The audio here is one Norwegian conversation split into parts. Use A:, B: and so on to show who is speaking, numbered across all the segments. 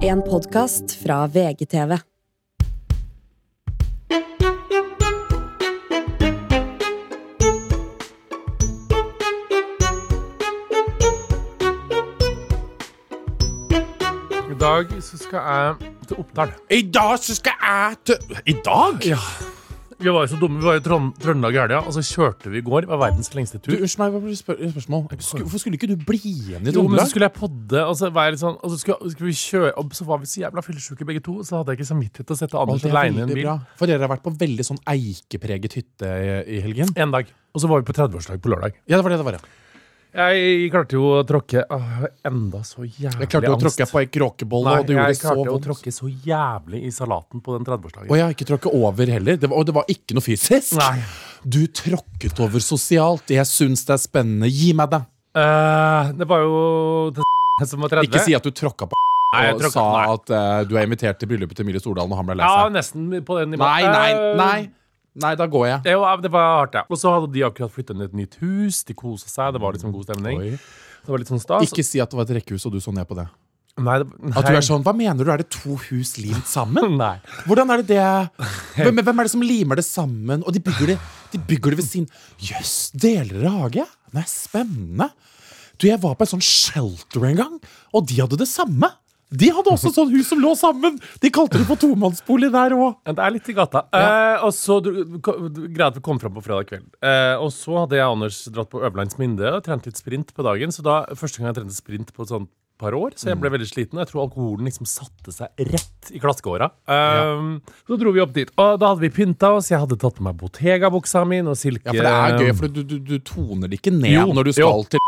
A: En podkast fra VGTV.
B: I dag så skal jeg til Oppdal.
C: I dag så skal jeg til I dag?
B: Vi var jo så dumme, vi var i Trond Trøndelag i helga, og så kjørte vi i går. Det var verdens lengste
C: Du,
B: tur.
C: Unnskyld meg, bare spør, spørsmål. Sku, hvorfor skulle ikke du bli igjen
B: Jo, men
C: i
B: så
C: Trøndelag?
B: skulle jeg podde, og så, var jeg litt sånn, og så, skulle, så skulle vi kjøre, og så var vi så jævla fyllesyke begge to, så hadde jeg ikke samvittighet til å sette
C: Å,
B: Anders
C: det er
B: aleine i en
C: veldig
B: bil.
C: bra. For dere har vært på veldig sånn eikepreget hytte i, i helgen?
B: En dag. Og så var vi på 30-årsdag på lørdag.
C: Ja, det var det det var, ja.
B: Jeg klarte jo å tråkke åh, enda så jævlig
C: Jeg klarte jo å tråkke på ei kråkebolle,
B: Nei,
C: og det gjorde
B: jeg
C: så
B: klarte å
C: vondt.
B: tråkke så jævlig i salaten på den 30-årsdagen.
C: Og jeg har ikke tråkket over heller. Det var, og det var ikke noe fysisk.
B: Nei.
C: Du tråkket over sosialt. Jeg syns det er spennende. Gi meg det.
B: Eh, det var jo det som var 30.
C: Ikke si at du tråkka på
B: Nei, jeg
C: og
B: tråkka-
C: sa
B: nei.
C: at eh, du er invitert til bryllupet til Emilie Stordalen, og han ble lei
B: Ja,
C: seg.
B: nesten på den nivåen.
C: nei, nei,
B: Eh,
C: nei. Nei, da går jeg.
B: Det var, det var hardt, ja. Og så hadde de akkurat flytta inn i et nytt hus. De kosa seg. Det var liksom god stemning.
C: Oi.
B: Det var litt sånn stas.
C: Ikke si at det var et rekkehus, og du så ned på det.
B: Nei, det, nei.
C: At du er sånn, Hva mener du, er det to hus limt sammen?
B: Nei.
C: Hvordan er det det Hvem, hvem er det som limer det sammen? Og de bygger det, de bygger det ved siden Jøss, deler dere hage? Nei, spennende. Du, Jeg var på en sånn shelter en gang, og de hadde det samme. De hadde også et sånt hus som lå sammen! De kalte det for tomannsbolig der òg.
B: Men Det er litt i gata. Eh, og så du- ko- du- Greia at vi kom fram på fredag kveld. Eh, og så hadde jeg og Anders dratt på Øverlands Minde og trent litt sprint på dagen. Så da, Første gang jeg trente sprint på et sånt par år,
C: Mm.
B: så jeg ble veldig sliten. Og jeg tror alkoholen liksom satte seg rett i klaskeåra. Um, Så dro vi opp dit. Og da hadde vi pynta oss. Jeg hadde tatt på meg Bottega-buksa mi og silke...
C: Ja, for det er gøy, for du, du, du toner det ikke ned
B: Jo,
C: når du
B: jo.
C: skal til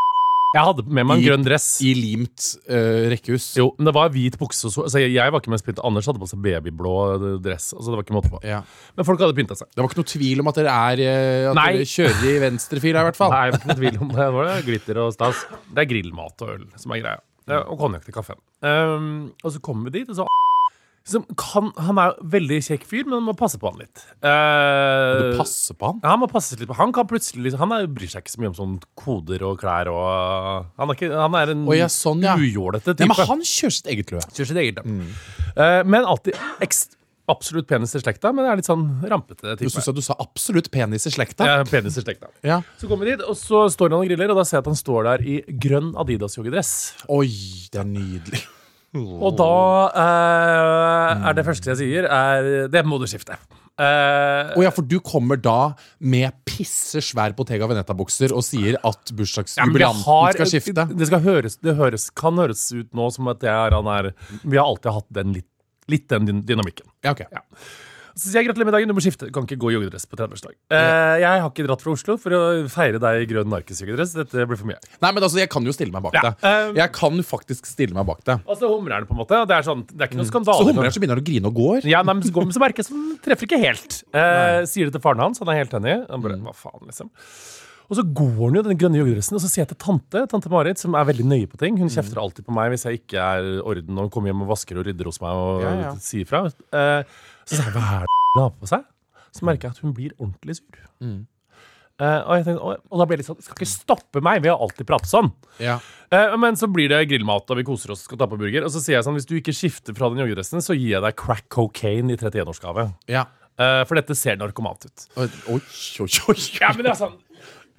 B: Jeg hadde med meg en
C: I-
B: grønn dress.
C: i limt eh, rekkehus.
B: Jo, men det var hvit bukse og så, altså jeg, jeg var ikke mest pynta. Anders hadde på seg babyblå eh, dress. Altså det var ikke måte på.
C: Ja.
B: Men folk hadde pynta seg.
C: Det var ikke noe tvil om at dere, er, eh, at
B: Nei.
C: dere kjører i venstrefila, i hvert fall.
B: Nei, ikke noe tvil om det. Det var glitter og stas. Det er grillmat og øl som er greia. Eh, Og konjakk til kaffen. Ehm, og så kommer vi dit, og så som kan, Han er veldig kjekk fyr, men man må passe på han litt.
C: Du
B: Eh,
C: passer på han.
B: han må passe litt på Han kan plutselig liksom, Han er, bryr seg ikke så mye om sånn koder og klær og Han er, ikke, han er en
C: Å, ja, sånn, ja.
B: ujålete
C: Nei,
B: type.
C: men han kjører sitt eget løp.
B: Kjører sitt eget løp.
C: Mm.
B: Eh, men alltid ekst, absolutt penis i slekta, men er litt sånn rampete
C: Du
B: type.
C: syns at du sa absolutt penis i slekta?
B: Ja, penis i slekta.
C: Ja.
B: Så kommer vi dit, og så står han og griller, og da ser jeg at han står der i grønn Adidas-joggedress.
C: Oi, det er nydelig.
B: Og da eh, er det første jeg sier, er Det må du skifte. Eh,
C: Å ja, for du kommer da med pissesvær Bottega Veneta-bukser og sier
B: ja,
C: at
B: men vi
C: bursdagsjubilanten
B: har-
C: skal skifte?
B: Det, skal høres, det høres, kan høres ut nå som at jeg er han er Vi har alltid hatt den litt, litt den dyn- dynamikken.
C: Ja, ok.
B: Ja. Så sier jeg gratulerer med dagen, du må skifte. Du kan ikke gå i joggedress på 30-årsdag. Eh, jeg har ikke dratt fra Oslo for å feire deg i grønn narkisjoggedress. Dette blir for mye.
C: Nei, men altså, jeg kan jo stille meg bak
B: Ja,
C: det.
B: eh,
C: Jeg kan faktisk stille meg bak det.
B: Og så humrer han Altså, på en måte. og Det er, sånn, det er ikke noe skandale.
C: Så humrer han, så begynner han å grine og går.
B: Ja, nei, men så går- men så merker jeg at han treffer ikke helt. Eh, sier det til faren hans, han er helt enig. Han
C: Mm.
B: bare, hva faen, liksom. Og så går han jo i den grønne joggedressen, og så sier jeg til tante, tante Marit, som er veldig nøye på ting.
C: Mm.
B: Hun kjefter alltid på meg hvis jeg ikke er i orden, og hun kommer hjem og vasker og rydder hos meg og
C: Ja, ja.
B: sier fra. Eh, så sier jeg, hva er det hun har på seg? Så
C: Mm.
B: merker jeg at hun blir ordentlig sur. Eh, og, jeg tenker, og, og da blir jeg litt sånn, skal ikke stoppe meg, vi har alltid pratet sånn.
C: Ja.
B: Eh, Men så blir det grillmat, og vi koser oss og skal ta på burger. Og så sier jeg sånn, hvis du ikke skifter fra den joggedressen, så gir jeg deg crack cocaine i 31-årsgave.
C: ja.
B: Eh, For dette ser narkomant ut.
C: Oi, oi, oi. oi.
B: Ja, men det er sånn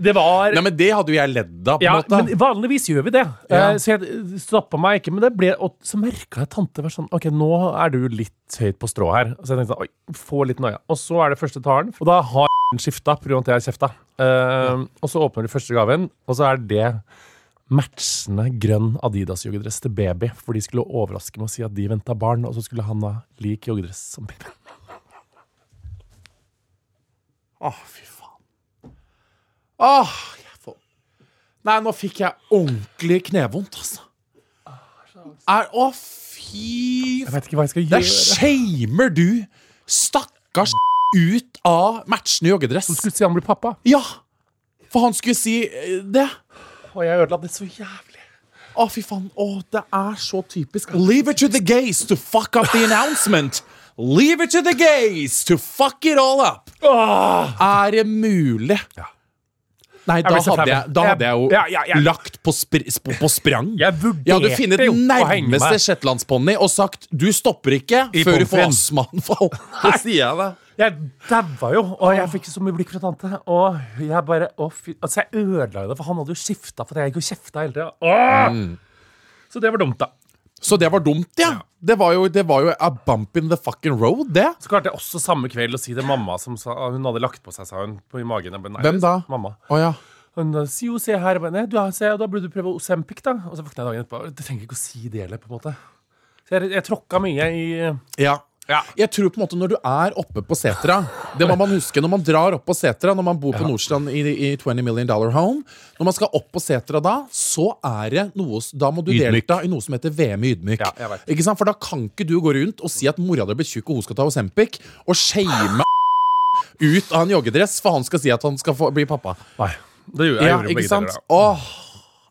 B: Det var
C: Nei, men det hadde jo jeg ledd av, på en
B: ja,
C: måte.
B: men Vanligvis gjør vi det,
C: Ja.
B: Eh, så jeg stoppa meg ikke. Men det ble, og så merka jeg tante var sånn Ok, nå er du litt høyt på strå her. Så jeg tenkte sånn, oi, få litt noia. Og så er det første taren, og da har skifta pga. at jeg har kjefta. Eh, Og så åpner de første gaven, og så er det matchende grønn Adidas-joggedress til baby. For de skulle overraske med å si at de venta barn, og så skulle han ha lik joggedress som baby.
C: Å, fy faen. Åh, jeg får... Nei, nå fikk jeg ordentlig knevondt, altså. Er, å, fy
B: Jeg vet ikke hva jeg skal
C: Der
B: gjøre.
C: shamer du stakkars ut av matchende joggedress.
B: Jeg skulle si han blir pappa,
C: Ja, for han skulle si eh, det.
B: og jeg ødela det så jævlig.
C: Å, fy faen. Å, det er så typisk. Leave it to the gays to fuck up the announcement. Leave it to the gays to fuck it all up.
B: Åh!
C: Er det mulig? Nei, da
B: ble så
C: hadde
B: flau.
C: jeg, da hadde jeg jo
B: ja, ja, ja.
C: lagt på, spr sp på sprang.
B: Jeg vurderte
C: Jeg hadde funnet
B: jo å henge meg.
C: nærmeste shetlandsponni og sagt 'du stopper ikke
B: I
C: før
B: pommes
C: du får
B: frites.
C: astmaanfall'. Så sier jeg det.
B: Jeg daua jo, og jeg fikk så mye blikk fra tante. Og jeg bare, å fy, altså jeg ødela jo det, for han hadde jo skifta for at jeg gikk og kjefta hele tida. Åh!
C: Mm.
B: Så det var dumt, da.
C: Så det var dumt, ja. Det var jo, det var jo a bump in the fucking road, det.
B: Så klarte jeg også samme kveld å si til mamma som sa, hun hadde lagt på seg, sa hun, på, i magen. Jeg bare, nei,
C: Hvem da?
B: Mamma.
C: Å ja.
B: Hun da, si jo, se her. Jeg bare, nei, du, har- se, da burde du prøve Osempic, da. Og så våkna jeg dagen etterpå. Du trenger ikke å si det heller, på en måte. Så jeg, jeg tråkka mye i
C: Ja.
B: Ja.
C: Jeg tror på en måte når du er oppe på setra Det må man huske når man drar opp på setra Når man bor på Nordstrand i, i 20 million dollar home Når man skal opp på setra da Så er det noe s- Da må du
B: Ydmyk.
C: delta i noe som heter VM i ydmyk
B: Ja, jeg vet.
C: Ikke sant? For da kan ikke du gå rundt og si at mora di blir tjukk og hun skal ta Ozempic Og shame ut av en joggedress For han skal si at han skal få, bli pappa
B: Nei. Det gjorde jeg,
C: Ja,
B: gjorde begge
C: ikke sant?
B: deler, da.
C: Åh,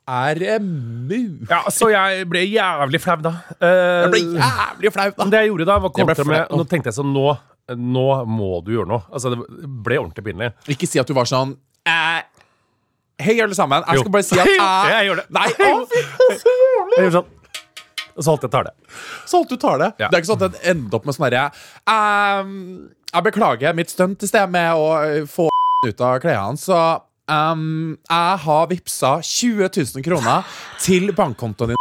C: er det mu
B: Ja, så jeg ble jævlig flau, da. Eh,
C: Jeg ble jævlig flau da
B: Men det jeg gjorde da, var å
C: Jeg ble
B: kontra med
C: flau.
B: Nå tenkte jeg sånn Nå, nå må du gjøre noe. Altså, det ble ordentlig pinlig.
C: Ikke si at du var sånn eh, Hei, alle sammen. Jeg
B: Jo.
C: skal bare si at eh,
B: Jeg gjorde det.
C: Nei, å, fy, det er så jævlig.
B: Jeg gjorde sånn. Og så holdt jeg tar det.
C: Så alt du tar det.
B: Ja.
C: Det er ikke sånn at den ender opp med sånn herre ehm, Jeg beklager mitt stunt i sted med å eh, få ut av klærne, så ehm, jeg har vippsa 20 000 kroner til bankkontoen din.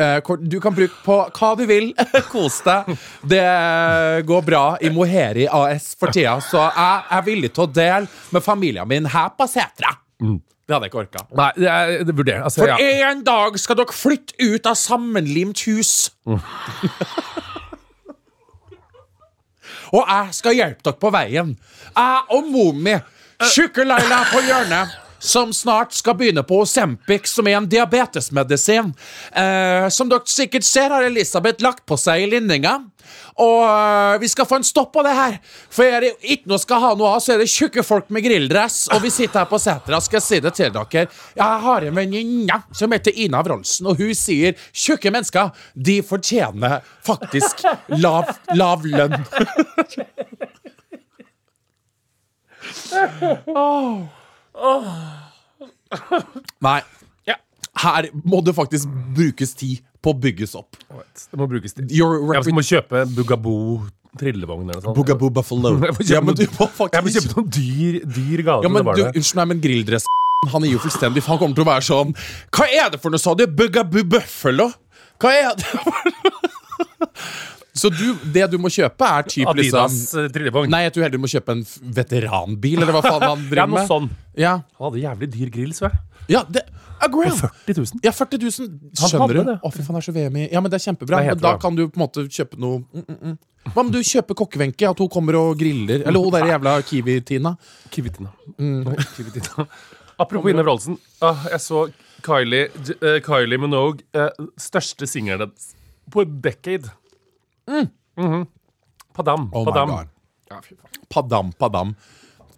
C: Eh, hvor Du kan bruke på hva du vil. Kos deg. Det går bra i Moheri AS for tida, så jeg er villig til å dele med familien min her på setra. Det hadde jeg ikke orka.
B: Nei, jeg, det vurderer altså,
C: For
B: Mm. ja.
C: en dag skal dere flytte ut av sammenlimt hus. og jeg skal hjelpe dere på veien. Jeg og Momi, tjukke Laila på hjørnet, som snart skal begynne på Osempic, som er en diabetesmedisin. Eh, som dere sikkert ser, har Elisabeth lagt på seg i linninga. Og eh, vi skal få en stopp på det her. For er det ikke noe skal ha noe av, så er det tjukke folk med grilldress. Og vi sitter her på setra, skal jeg si det til dere. Jeg har en venninne som heter Ina Wroldsen, og hun sier tjukke mennesker, de fortjener faktisk lav, lav lønn. Nei.
B: Ja.
C: Her må det faktisk brukes tid på å bygges opp.
B: Jeg vet, Det må brukes til.
C: Your
B: Jeg
C: repu-
B: må kjøpe Bugaboo trillevogn eller noe sånt.
C: Boogaboo Buffalo.
B: Jeg må kjøpe
C: Ja, men du må
B: noen- Jeg må
C: faktisk
B: kjøpe noen dyr, dyr gaver.
C: Ja, men
B: det var
C: du,
B: det.
C: unnskyld meg, men grilldress Han er jo fullstendig Han kommer til å være sånn Hva er det for noe, sa du? Bugaboo Buffalo? Hva er det for noe? Så du, det du må kjøpe er typ
B: Adidas
C: liksom
B: eh, trillevogn.
C: Nei, jeg tror heller du må kjøpe en f- veteranbil, eller hva faen han
B: Ja,
C: driver
B: noe
C: med.
B: sånn.
C: Ja,
B: Han hadde jævlig dyr grill, så jeg.
C: ja det, a grand.
B: 40 000.
C: Ja, 40 000.
B: Han
C: Skjønner
B: hadde
C: du?
B: det.
C: Å, fy faen, det er så VM i Ja, men det er kjempebra.
B: Det er helt
C: Men da
B: bra.
C: kan du på en måte kjøpe noe mm, mm, mm. Hva om du kjøper kokkevenke? At hun kommer og griller? Eller hun der jævla Kiwi-Tina?
B: Kivitina. Kivitina. Mm. Apropos Ine Wroldsen. Ah, jeg så Kylie, J- eh, Kylie Minogue, eh, største singelen hennes på a decade. Mhm. Padam.
C: Mm. Oh my
B: padam.
C: God.
B: Ja, fy faen.
C: Padam, padam.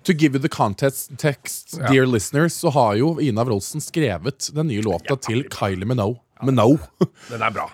C: To give you the context text, dear listeners, så har jo Ina Wroldsen skrevet den nye låta til Kylie Minogue. Minogue.
B: Den er bra.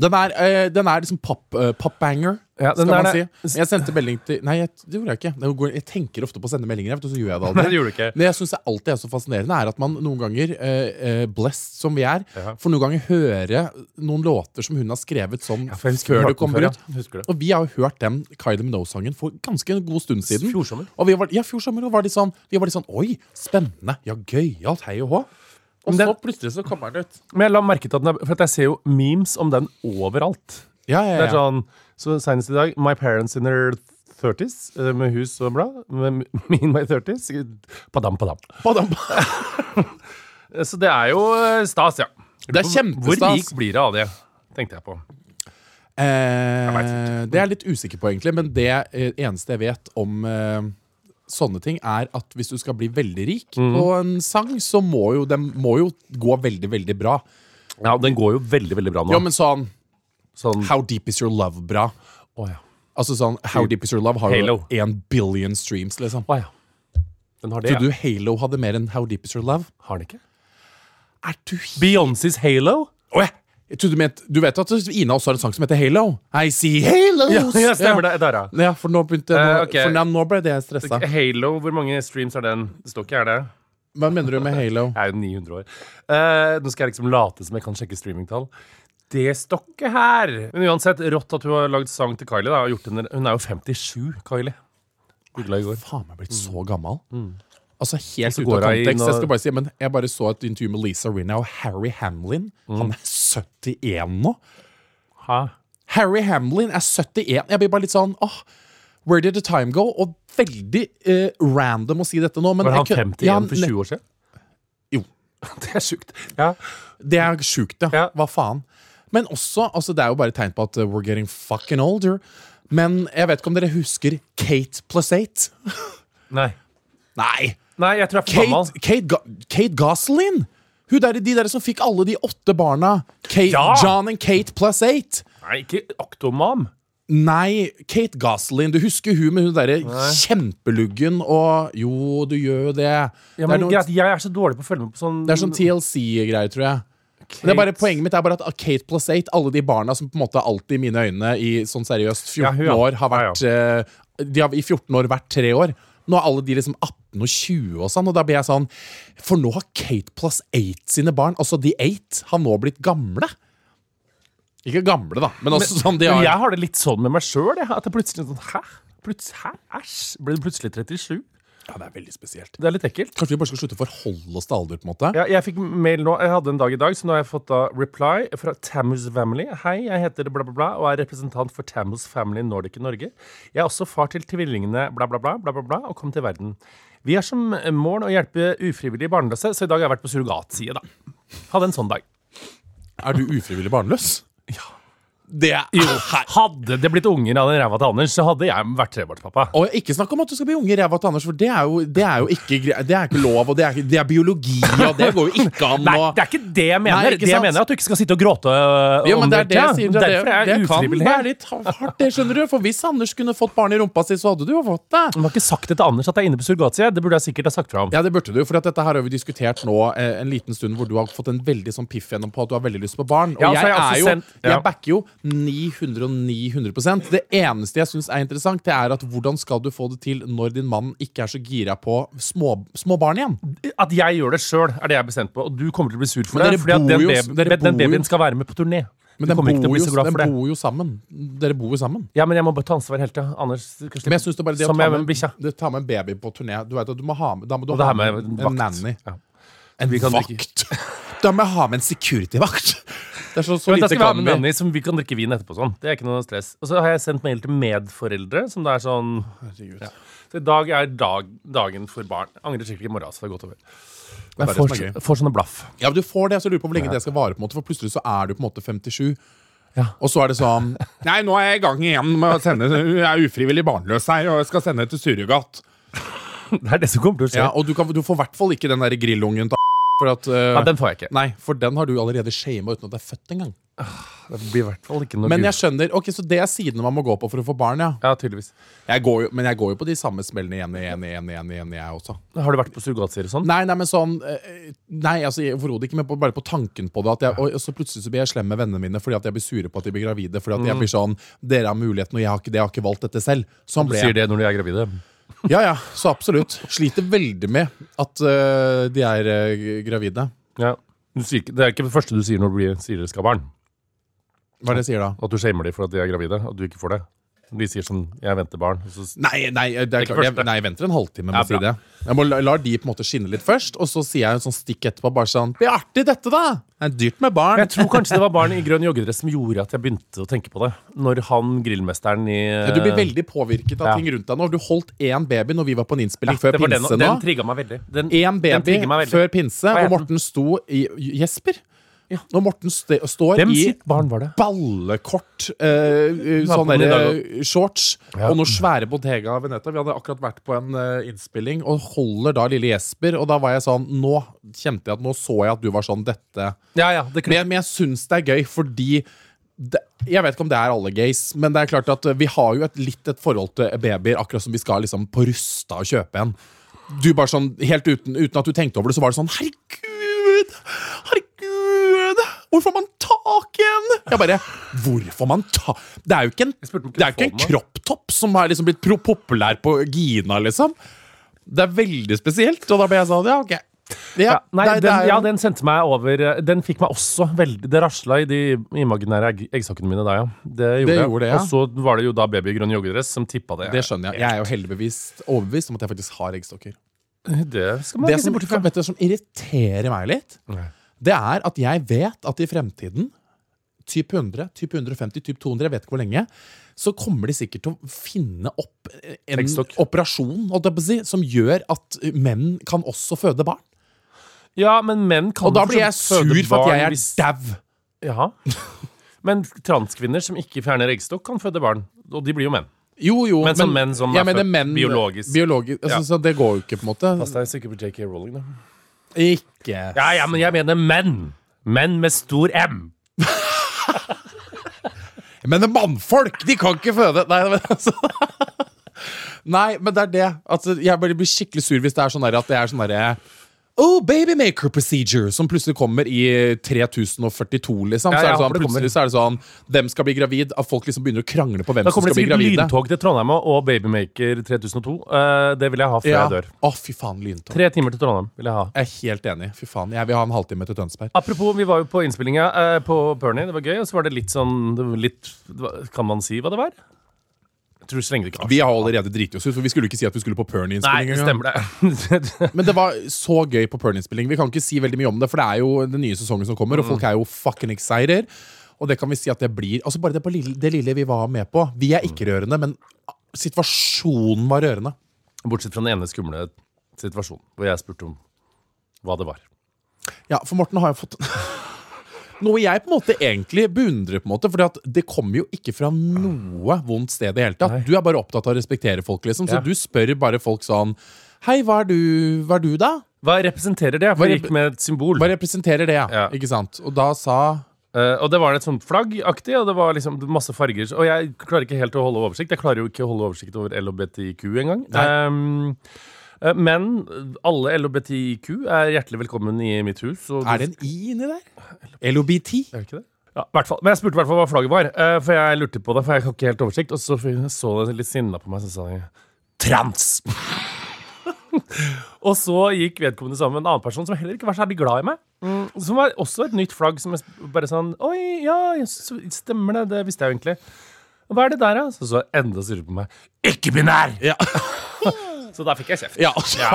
C: Den er, eh, den er liksom pop, eh, popbanger,
B: Ja, den
C: skal
B: er
C: man
B: det.
C: si. Jeg sendte melding til Nei, jeg, det gjorde jeg ikke. Jeg, går, jeg tenker ofte på å sende meldinger, jeg vet, og så gjør jeg det aldri.
B: Nei, det gjorde du ikke.
C: Men jeg syns det alltid er så fascinerende, er at man noen ganger, eh, eh, blessed som vi er,
B: Ja.
C: får noen ganger høre noen låter som hun har skrevet sånn
B: Ja, for jeg husker vi
C: før
B: hørte
C: det
B: den
C: kommer
B: før,
C: ut.
B: ja. Jeg husker det.
C: Og vi har jo hørt den Kylie Minogue-sangen for ganske en god stund siden.
B: Fjor sommer.
C: Og vi var, ja, fjor sommer. Og var de sånn, vi var litt sånn Oi, spennende. Ja, gøyalt. Hei og hå. Og
B: Men den-
C: så plutselig så kommer den ut.
B: Men jeg la merke til at den er, for at jeg ser jo memes om den overalt.
C: Ja, ja,
B: Det
C: ja.
B: er sånn, så Senest i dag My parents in their 30s, eh, med hus og blad. Med me in my 30s. Padam, padam.
C: Badam.
B: Eh, Så det er jo eh, stas, ja.
C: Det er
B: Hvor
C: kjempestas.
B: rik blir det av det, tenkte jeg på.
C: Eh, det er jeg litt usikker på, egentlig. Men det eh, eneste jeg vet om eh, sånne ting, er at hvis du skal bli veldig rik
B: Mhm.
C: på en sang, så må jo den må jo gå veldig, veldig bra.
B: Ja, Den går jo veldig veldig bra nå.
C: Ja, men sånn
B: sånn,
C: How Deep Is Your Love bra.
B: Å ja.
C: Altså sånn How Deep Is Your Love har jo
B: Halo.
C: en billion streams, liksom.
B: Å, ja. Den har det,
C: Trodde
B: ja.
C: du Halo hadde mer enn How Deep Is Your Love?
B: Har den ikke?
C: Er du
B: Beyoncés Halo?
C: Åh, jeg- jeg trodde du, mente, du vet at Ina også har en sang som heter Halo? I see halos!
B: Ja, ja, stemmer det. Der, ja.
C: Ja, ja for, nå begynte, nå,
B: Eh, ok.
C: for nå, nå ble det stressa.
B: Halo, hvor mange streams er den? Det står ikke, er det?
C: Hva mener du med Halo?
B: Jeg er jo 900 år. Eh, nå skal jeg liksom late som jeg kan sjekke streamingtall. Det stokket her! Men uansett, rått at hun har lagd sang til Kylie. Da, og gjort henne, hun er jo 57, Kylie. Googla i går.
C: Faen meg blitt så gammel.
B: Mm.
C: Altså
B: Og
C: Helt
B: så
C: ut av
B: går hun inn
C: kontekst. Jeg
B: og-
C: skal bare si, men jeg bare så et intervju med Lisa Rinna og Harry Hamlin.
B: Mm.
C: Han er 71 nå. Harry Hamlin er 71. Jeg blir bare litt sånn åh, Where did the time go? Og veldig eh, random å si dette nå. Men
B: Var han
C: jeg kunne-
B: 51
C: Ja, han-
B: for 20 år siden?
C: Jo.
B: Det er sjukt. Ja.
C: Det er sjukt, ja.
B: Ja.
C: Hva faen? Men også, altså det er jo bare et tegn på at uh, we're getting fucking older. Men jeg vet ikke om dere husker Kate Plassate?
B: Nei.
C: Nei!
B: Nei, jeg tror jeg er for gammel.
C: Kate, Kate, Ga Kate Gosselin! Hun der, de der som fikk alle de åtte barna. Kate,
B: Ja!
C: John and Kate Plassate.
B: Nei, ikke Octomam.
C: Nei, Kate Gosselin. Du husker hun med hun derre kjempeluggen og Jo, du gjør jo det.
B: Ja,
C: det,
B: men
C: er noe,
B: greit, Jeg er så dårlig på å følge med på sånn
C: det er sånn TLC-greier, tror jeg. Men Det er bare,
B: Kate.
C: poenget mitt er bare at Kate Plassate, alle de barna som på en måte alltid i mine øyne i sånn seriøst 14
B: Ja, hun, ja.
C: år har
B: Ja, ja.
C: vært eh, De har i 14 år vært tre år. Nå er alle de liksom 18 og 20 og sånn, og da blir jeg sånn For nå har Kate Plus 8 sine barn, altså de 8, har nå blitt gamle. Ikke gamle, da, men også sånn de
B: Men
C: har
B: jeg har det litt sånn med meg sjøl. At jeg plutselig sånn Hæ? Plutselig, hæ? Æsj! Ble du plutselig 37?
C: Ja, det er veldig spesielt.
B: Det er litt ekkelt.
C: Kanskje vi bare skal slutte å forholde oss til alder, på en måte?
B: Ja, jeg fikk mail nå, jeg hadde en dag i dag, så nå har jeg fått da reply fra Tammuz Family. Hei, jeg heter bla, bla, bla og er representant for Tammuz Family Nordic i Norge. Jeg er også far til tvillingene bla, bla, bla, bla, bla, bla og kom til verden. Vi har som mål å hjelpe ufrivillig barnløse, så i dag har jeg vært på surrogatside, da. Hadde en sånn dag.
C: Er du ufrivillig barnløs? Ja. Det er Hei.
B: Hadde det blitt unger av den ræva til Anders, så hadde jeg vært trebarnspappa.
C: Og ikke snakk om at du skal bli unge i ræva til Anders, for det er jo, det er jo ikke, gre- det er ikke lov, og det er, ikke- det er biologi, og det går jo ikke an
B: Nei,
C: å
B: det er ikke det jeg mener.
C: Nei, ikke
B: det jeg
C: sant?
B: mener er at du ikke skal sitte og gråte. øh,
C: ja, men
B: om
C: det er det jeg
B: ja.
C: sier. Det, er
B: Derfor er
C: det,
B: jeg
C: det kan
B: ufrivillig her.
C: være litt hardt, det skjønner du. For hvis Anders kunne fått barn i rumpa si, så hadde du jo fått det.
B: Du har ikke sagt det til Anders at jeg er inne på surrogatside. Det burde jeg sikkert ha sagt fra om.
C: Ja, det burde du, for at dette her har vi diskutert nå eh, en liten stund, hvor du har fått en veldig sånn piff gjennom på at du har veldig lyst på barn. Og
B: Ja, så
C: jeg,
B: har jeg også
C: er jo,
B: sendt- ja.
C: jeg backer jo 900-900 Det eneste jeg syns er interessant, det er at hvordan skal du få det til når din mann ikke er så gira på små, små barn igjen?
B: At jeg gjør det sjøl, er det jeg er bestemt på. Og du kommer til å bli sur for
C: Men
B: det.
C: dere
B: Fordi at den,
C: bor jo-
B: baby,
C: dere
B: den
C: bor jo-
B: babyen skal være med på turné.
C: Men
B: du
C: den
B: kommer
C: bor,
B: ikke til å bli så
C: jo,
B: glad
C: den
B: for det.
C: bor jo sammen. Dere bor jo sammen.
B: Ja, men jeg må bare ta ansvar hele tida. Anders skal slippe.
C: Men jeg synes det er bare det å
B: Som
C: ta
B: jeg med
C: med,
B: bikkja.
C: det, ta med en baby på turné Du vet at du må ha med, Da må du
B: Og det
C: ha
B: her
C: med
B: med
C: en
B: vakt.
C: nanny.
B: Ja.
C: En
B: Vi kan drikke-
C: vakt! Da må jeg ha med en security-vakt! Det er så, så
B: Men da
C: lite
B: skal vi ha
C: kan
B: med
C: vi.
B: Nanny, som vi kan drikke vin etterpå. og sånn Det er ikke noe stress. Og så har jeg sendt mail til medforeldre, som det er sånn
C: Herregud.
B: ja. Så i dag er dag, dagen for barn. Angrer skikkelig i morgen, så det er godt over.
C: Det er
B: Bare
C: det som
B: får,
C: er gøy.
B: får sånne blaff.
C: Ja, men du får det, så jeg lurer på hvor lenge det skal vare. på en måte For plutselig så er du på en måte 57.
B: Ja.
C: Og så er det sånn Nei, nå er jeg i gang igjen med å sende Jeg er ufrivillig barnløs her, og jeg skal sende til surrogat.
B: Det er det som kommer til å skje.
C: Ja,
B: Ja,
C: og du, kan, du får i hvert fall ikke den der grillungen til for at eh,
B: den får jeg ikke.
C: Nei, for den har du allerede shama uten at det er født engang.
B: Det blir i hvert fall ikke noe
C: Men
B: gul.
C: jeg skjønner, ok, så det er sidene man må gå på for å få barn, ja.
B: Ja, tydeligvis.
C: Jeg går jo, men jeg går jo på de samme smellene igjen igjen, igjen, igjen, igjen jeg også.
B: Har du vært på surrogatsider og sånn?
C: Nei, nei, men sånn eh, Nei, altså jeg- overhodet ikke, men på, bare på tanken på det. At jeg, og, og så plutselig så blir jeg slem med vennene mine fordi at jeg blir sure på at de blir gravide. Fordi at jeg blir sånn Dere har muligheten, og jeg har ikke, det, jeg har ikke valgt dette selv. Sånn
B: Du
C: ble
B: sier
C: jeg.
B: det når de er gravide.
C: Ja, ja, så absolutt. Sliter veldig med at eh, de er eh, gravide.
B: Ja. Du sier, ikke- det er ikke det første du sier når du blir, sier dere skal ha barn.
C: Hva er det jeg sier da?
B: At du shamer dem for at de er gravide, og du ikke får det. De sier sånn 'jeg venter barn'. og Så,
C: Nei, nei, det er
B: Ikke
C: klart, jeg,
B: første.
C: nei, jeg venter en halvtime med
B: Ja,
C: å si det. Jeg må la, lar de på en måte skinne litt først, og så sier jeg en sånn stikk etterpå. Bare sånn Blir artig, dette, da! Det er dyrt med barn.
B: jeg tror kanskje det var barn i grønn joggedress som gjorde at jeg begynte å tenke på det. Når han grillmesteren i
C: Ja, Du blir veldig påvirket av
B: Ja.
C: ting rundt deg nå. Du holdt én baby når vi var på en innspilling før
B: det var den,
C: pinse nå.
B: den trigga meg veldig. Den, den
C: Én baby
B: trigger meg veldig.
C: før pinse,
B: Hva
C: og
B: het den?
C: Morten sto i Jesper. Når Morten ste- står
B: Hvem
C: i
B: sitt barn var det?
C: ballekort eh, eh,
B: var på
C: sånn
B: den i
C: derre
B: dag
C: shorts
B: Ja.
C: og noen svære Bottega Veneta. Vi hadde akkurat vært på en eh, innspilling og holder da lille Jesper, og da var jeg sånn Nå kjente jeg at nå så jeg at du var sånn Dette
B: Ja, ja, det
C: Men jeg, men jeg syns det er gøy fordi det, jeg vet ikke om det er alle gays, men det er klart at eh, vi har jo et, litt et forhold til babyer, akkurat som vi skal liksom på Rusta og kjøpe en. Du bare sånn, Helt uten, uten at du tenkte over det, så var det sånn Herregud! Herregud! Hvor får man tak i en? Jeg bare Hvorfor man ta... Det er jo ikke en,
B: spurte om
C: det er jo ikke en
B: kunne få den,
C: kropptopp som har liksom blitt pro- populær på Gina, liksom. Det er veldig spesielt. Og da ble jeg sånn Ja, ok.
B: Ja, nei,
C: det- det
B: den,
C: er jo-
B: ja, den sendte meg over eh, Den fikk meg også veldig Det rasla i de imaginære egg, eggsokkene mine der, ja. Det gjorde
C: Det
B: det.
C: gjorde det, ja.
B: Og så var det jo da baby i grønn joggedress som tippa det.
C: Det skjønner jeg. Jeg er jo heldigvis overbevist om at jeg faktisk har eggstokker.
B: Det skal man
C: Det
B: ikke se
C: som,
B: bort fra.
C: vet du, hva som irriterer meg litt,
B: Nei.
C: det er at jeg vet at i fremtiden Type 100, type 150, type 200, jeg vet ikke hvor lenge. Så kommer de sikkert til å finne opp en
B: Eggstokk.
C: operasjon holdt jeg på å si, som gjør at menn kan også føde barn.
B: Ja, men menn kan
C: Og da
B: for
C: blir jeg
B: så
C: sur
B: vidt føde
C: for at jeg
B: barn
C: er
B: hvis-
C: dau.
B: Ja. Men transkvinner som ikke fjerner eggstokk, kan føde barn. Og de blir jo menn.
C: Jo, jo,
B: Men som menn som
C: jeg
B: er
C: mener
B: født
C: menn-
B: biologisk.
C: biologisk altså,
B: Ja.
C: Så det går jo ikke, på en måte.
B: Pass deg sikkert på JK Rowling, da.
C: Ikke
B: Ja, ja, men jeg mener menn. Menn med stor M.
C: Men mannfolk, de kan ikke føde! Nei, men altså Nei, men det er det. Altså, jeg bare blir skikkelig sur hvis det er sånn der at det er sånn derre Oh, babymaker procedure! Som plutselig kommer i 3042, liksom.
B: Ja, jeg
C: så er det sånn,
B: håper det kommer.
C: plutselig så er det sånn Dem skal bli gravid. At folk liksom begynner å krangle på hvem
B: Da
C: som
B: kommer det
C: skal bli
B: sikkert
C: gravide.
B: lyntog til Trondheim og Babymaker 3002. Eh, det vil jeg ha før
C: Ja.
B: jeg dør.
C: Å, fy faen, lyntog.
B: Tre timer til Trondheim vil jeg ha.
C: Jeg er helt enig. Fy faen, Jeg vil ha en halvtime til Tønsberg.
B: Apropos, vi var jo på innspillinga eh, på Pernie. Det var gøy. Og så var det litt sånn det var litt, det var- Kan man si hva det var? Jeg tror så lenge det ikke var
C: Vi har allerede driti oss ut, for vi skulle jo ikke si at vi skulle på
B: Nei,
C: Pernie-innspilling.
B: det
C: engang.
B: stemmer det.
C: Men det var så gøy på Pernie-innspilling. Vi kan ikke si veldig mye om det, for det er jo den nye sesongen som kommer, og folk er jo fucking excited. Og det kan vi si at det blir Altså Bare det, på lille, det lille vi var med på. Vi er ikke rørende, men situasjonen var rørende.
B: Bortsett fra den ene skumle situasjonen hvor jeg spurte om hva det var.
C: Ja, for Morten har jo fått Noe jeg på en måte egentlig beundrer, på en måte Fordi at det kommer jo ikke fra noe vondt sted i det hele tatt.
B: Nei.
C: Du er bare opptatt av å respektere folk, liksom. Så
B: Ja.
C: du spør bare folk sånn Hei, hva er du, hva er du da?
B: Hva representerer det? For
C: Hva
B: det gikk med et symbol.
C: Hva representerer det?
B: Ja.
C: Ikke sant? Og da sa
B: Eh, og det var et sånt flaggaktig, og det var liksom masse farger. Og jeg klarer ikke helt å holde oversikt. Jeg klarer jo ikke å holde oversikt over LHBTIQ engang. Um, eh, men alle LHBTIQ er hjertelig velkommen i mitt hus. Og
C: Er det en I inni der? LOBT?
B: Er det ikke det? Ja, i hvert fall. Men jeg spurte i hvert fall hva flagget var, eh, for jeg lurte på det. For jeg har ikke helt oversikt. Og så f- så det litt sinna på meg, så sa jeg trans! og så gikk vedkommende sammen med en annen person som heller ikke var særlig glad i meg. Mm, som var også et nytt flagg som jeg sp- bare sånn Oi, ja, så stemmer det. Det visste jeg jo egentlig. Hva er det der, da? Så så jeg enda surre på meg. Ikke-binær!
C: Ja.
B: Så der fikk jeg kjeft.
C: Ja,